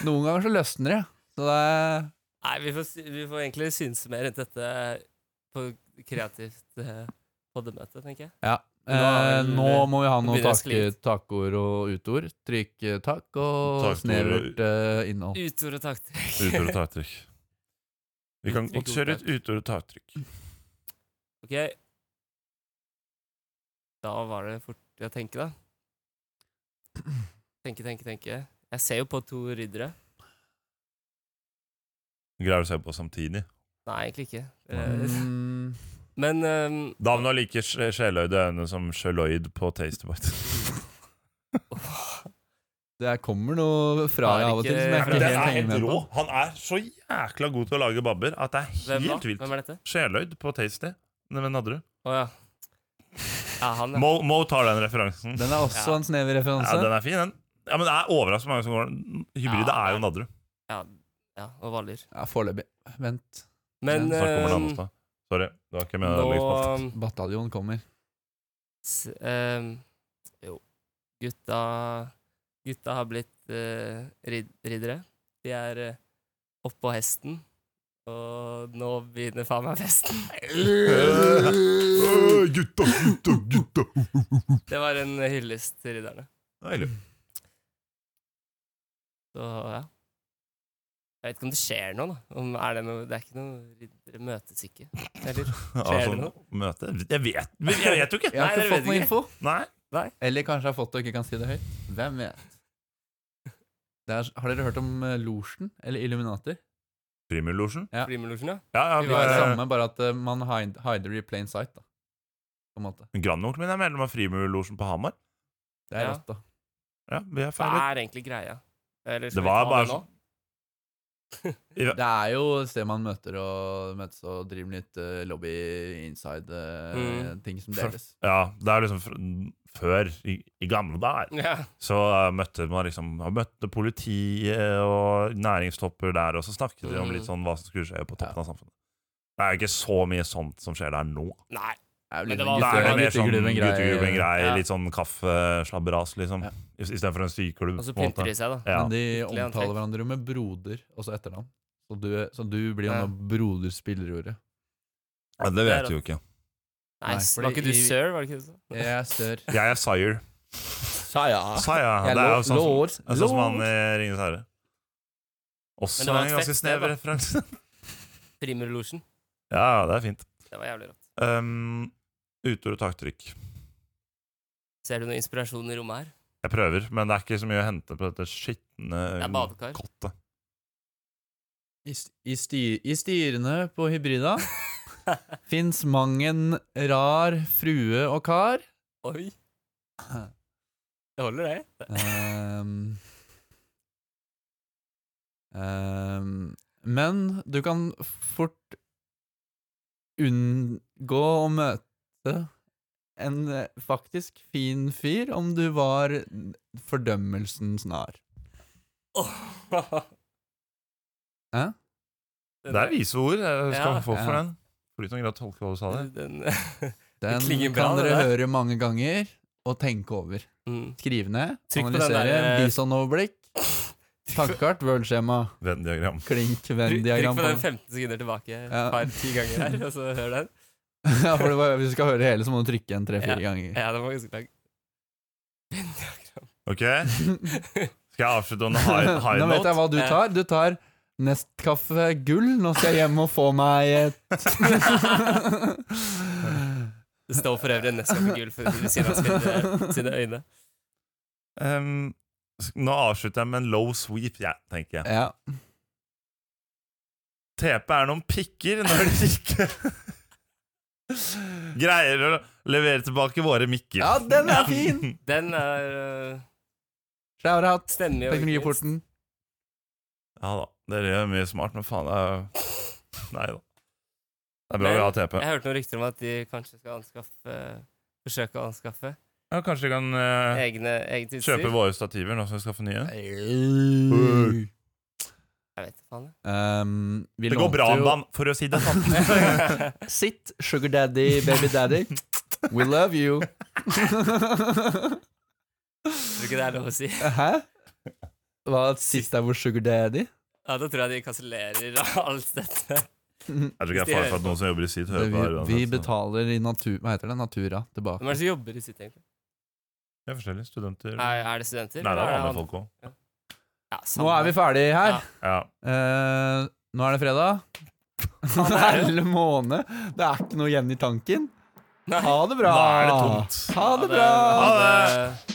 Noen ganger så løsner det. Så det er
Nei, vi får, sy- vi får egentlig synse mer rundt dette på kreativt eh, poddemøte, tenker jeg.
Ja.
Nå er
Eh,
vel-
nå må vi ha noen
begynner det å skli
tak takord og utord. Trykk-tak og
Takord og-
snevert eh, innhold.
Utord og
Utord og
taktrykk.
taktrykk. Vi kan godt kjøre et utord og taktrykk.
ok. Da var det fort å tenke, da. Tenke, tenke, tenke. Jeg ser jo på to riddere.
Greier du å se på samtidig?
Nei, egentlig ikke. Eh,
Mm,
Men ehm,
Damen har like sj- sjeløyde øyne som sjeloid på Tastebite.
det kommer noe fra
Bare
deg av og til
ikke-
som jeg
Nei, men
ikke
det
helt henger med på.
Han er så jækla god til å lage babber at det er
hvem, da?
helt vilt.
hvem er dette?
Sjeløyd på Tasty. Nei, Men hadde du?
Å ja. Ja, han, ja.
Mo, Mo tar den referansen.
Den er også
Ja.
en snever
Ja,
referanse.
den er fin, den. Ja, men Det er overraskende mange som går den. Hybride
Ja.
er jo Nadderud.
ja, ja og Hvaler.
Ja, Foreløpig. Vent.
Men
Ja,
Snart kommer det
ehm,
andre også. Sorry. Det var ikke med
nå um,
Nå...
Bataljon kommer.
s- ehm, Jo, gutta Gutta har blitt eh, rid riddere. De er eh, oppå hesten, og nå begynner faen meg festen.
Gutta, gutta, gutta!
Det var en hyllest til ridderne.
Deilig.
Så ja. Jeg vet ikke om det skjer noe, da. Om, er det, noe, det er ikke noe riddere møtes ikke. Eller?
Ja,
det
sånn
noe?
møte Jeg vet, men jeg vet jo ikke!
Jeg har ikke
Nei, det
fått
vet
noe
jeg
info.
Nei.
Eller kanskje jeg har fått det og ikke kan si det høyt. Hvem vet? Det er, har dere hørt om uh, losjen? Eller Illuminater?
Frimurlosjen?
Ja.
Frimulosjen, ja.
Ja, ja,
Vi
Det
var
er det
Eh.
samme, bare at eh, man hide- hider i plain sight. Da. På en måte.
Grandonkelen min er medlem av Frimurlosjen på Hamar.
Det er
Ja.
rått, da.
Ja, vi er
Hva
ferdig.
er egentlig greia? Eller
Det
skal vi
var
ta
bare
det nå?
sånn-
Det er jo et sted man møter og møtes og driver med litt eh, lobby inside eh,
Mm.
ting som
For-
deles.
Ja, det er liksom fr- før, i, i gamle dager,
Ja.
så eh, møtte man liksom man møtte politiet og næringstopper der, og så snakket de om
Mm.
litt sånn hva som skulle skje på toppen av samfunnet. Det er jo ikke så mye sånt som skjer der nå.
Nei.
Det er jo
Men
litt
det var-
sånn
Da er det mer sånn
gutteklubben-greie.
gutteklubben-greie,
Ja.
litt sånn kaffeslabberas, liksom.
Ja.
I- Istedenfor en sykeklubb.
Og så
på en måte.
pynter de seg, da.
Ja.
Men de
Skikkelig antrekk.
omtaler hverandre med broder, også etternavn. Så du, så du blir jo nå
Ja.
broder spillerordet.
ja, det
Det
vet
er
du jo ikke.
Nei,
Nei,
s-
fordi
var ikke du
i-
sir, var det ikke det? du sa?
Jeg er sør.
Jeg er Sire.
Sa ja.
Sire,
Jeg
det er jo
lå-
sånn som
lår.
Det er sånn som han
Lår.
i Ringenes herre. Også
Men det var
en
et
ganske
fett sted,
snev
da.
referanse.
Frimurlosjen.
ja, det er fint.
Det var jævlig rått.
Um, Utord og taktrykk.
Ser du noe inspirasjon i rommet her?
Jeg prøver, men det er ikke så mye å hente på dette skitne um,
Um,
Det er badekar.
kottet.
I, st- i, sti- I styrene på Hybrida Fins mangen rar frue og kar.
Oi. Det holder, det.
Ehm. Ehm, men du kan fort unngå å møte en eh, faktisk fin fyr om du var fordømmelsen snar. Hæ?
Den-
Det er vise ord. Jeg skal
Ja.
få for
Ja.
den. Flytende grad tolke hva du sa der.
Den,
Den
klinger bra,
kan
det
dere
der.
høre mange ganger og tenke over.
mm.
Skrive ned,
Trykk på den
analysere,
der, eh,
bisonoverblikk, tankekart, worldskjema,
Venn-diagram.
klink,
Trykk trykk
venn-diagram.
på den 15 sekunder tilbake et
Ja.
par-ti ganger her, og så hør den.
Ja, for det var, hvis du skal høre hele, så må du trykke en tre-fire ganger.
Ja, den var ganske lang. Venn-diagram.
Ok, Skal jeg avslutte on a high, high
Nå vet jeg
note?
hva du tar. Du tar Nestkaffe gull. Nå skal jeg hjem og få meg et
Det står for øvrig en Nescafe-gull ved siden av sine, sine øyne.
Um, sk- nå avslutter jeg med en low sweep, jeg, tenker jeg.
Ja.
TP er noen pikker når de ikke greier å levere tilbake våre mikker.
ja, den er fin!
Den er øh,
Shout-out.
stemmig. og ikke minst-
Teknologiporten.
Ja da. Dere gjør mye smart, men faen det er... Nei da. Det er bra vi har TP.
Jeg hørte noen rykter om at de kanskje skal anskaffe forsøke å anskaffe
Ja, kanskje vi kan eh,
egne, eget utstyr.
kjøpe våre stativer nå som vi skal få nye?
Jeg vet ikke faen. jeg.
Um, vi
Det går
lånte
bra om
jo-
dagen, for å si det sånn.
Sitt, sugar daddy, baby daddy. We love you.
Tror ikke det er lov å si.
Hæ? Hva sist er vår sugar daddy?
Ja, Da tror jeg de kansellerer alt dette.
Jeg tror ikke det er farlig for at noen som jobber i sitt,
Det,
hører på
vi,
her.
vi
uansett, så-
betaler i natur... Hva heter det? Natura tilbake.
Hvem er det som jobber i sitt, egentlig?
Det er forskjellig. Studenter Nei,
Er, er det studenter?
det er
eller
vanlige
han-
folk òg.
Ja,
Nå er vi ferdig her.
Ja.
Ja.
Eh, nå er det fredag.
er
Hele måned. Det er ikke noe igjen i tanken.
Nei.
Ha det bra.
Nå er det tomt.
Ha det bra.
Ha det.
det.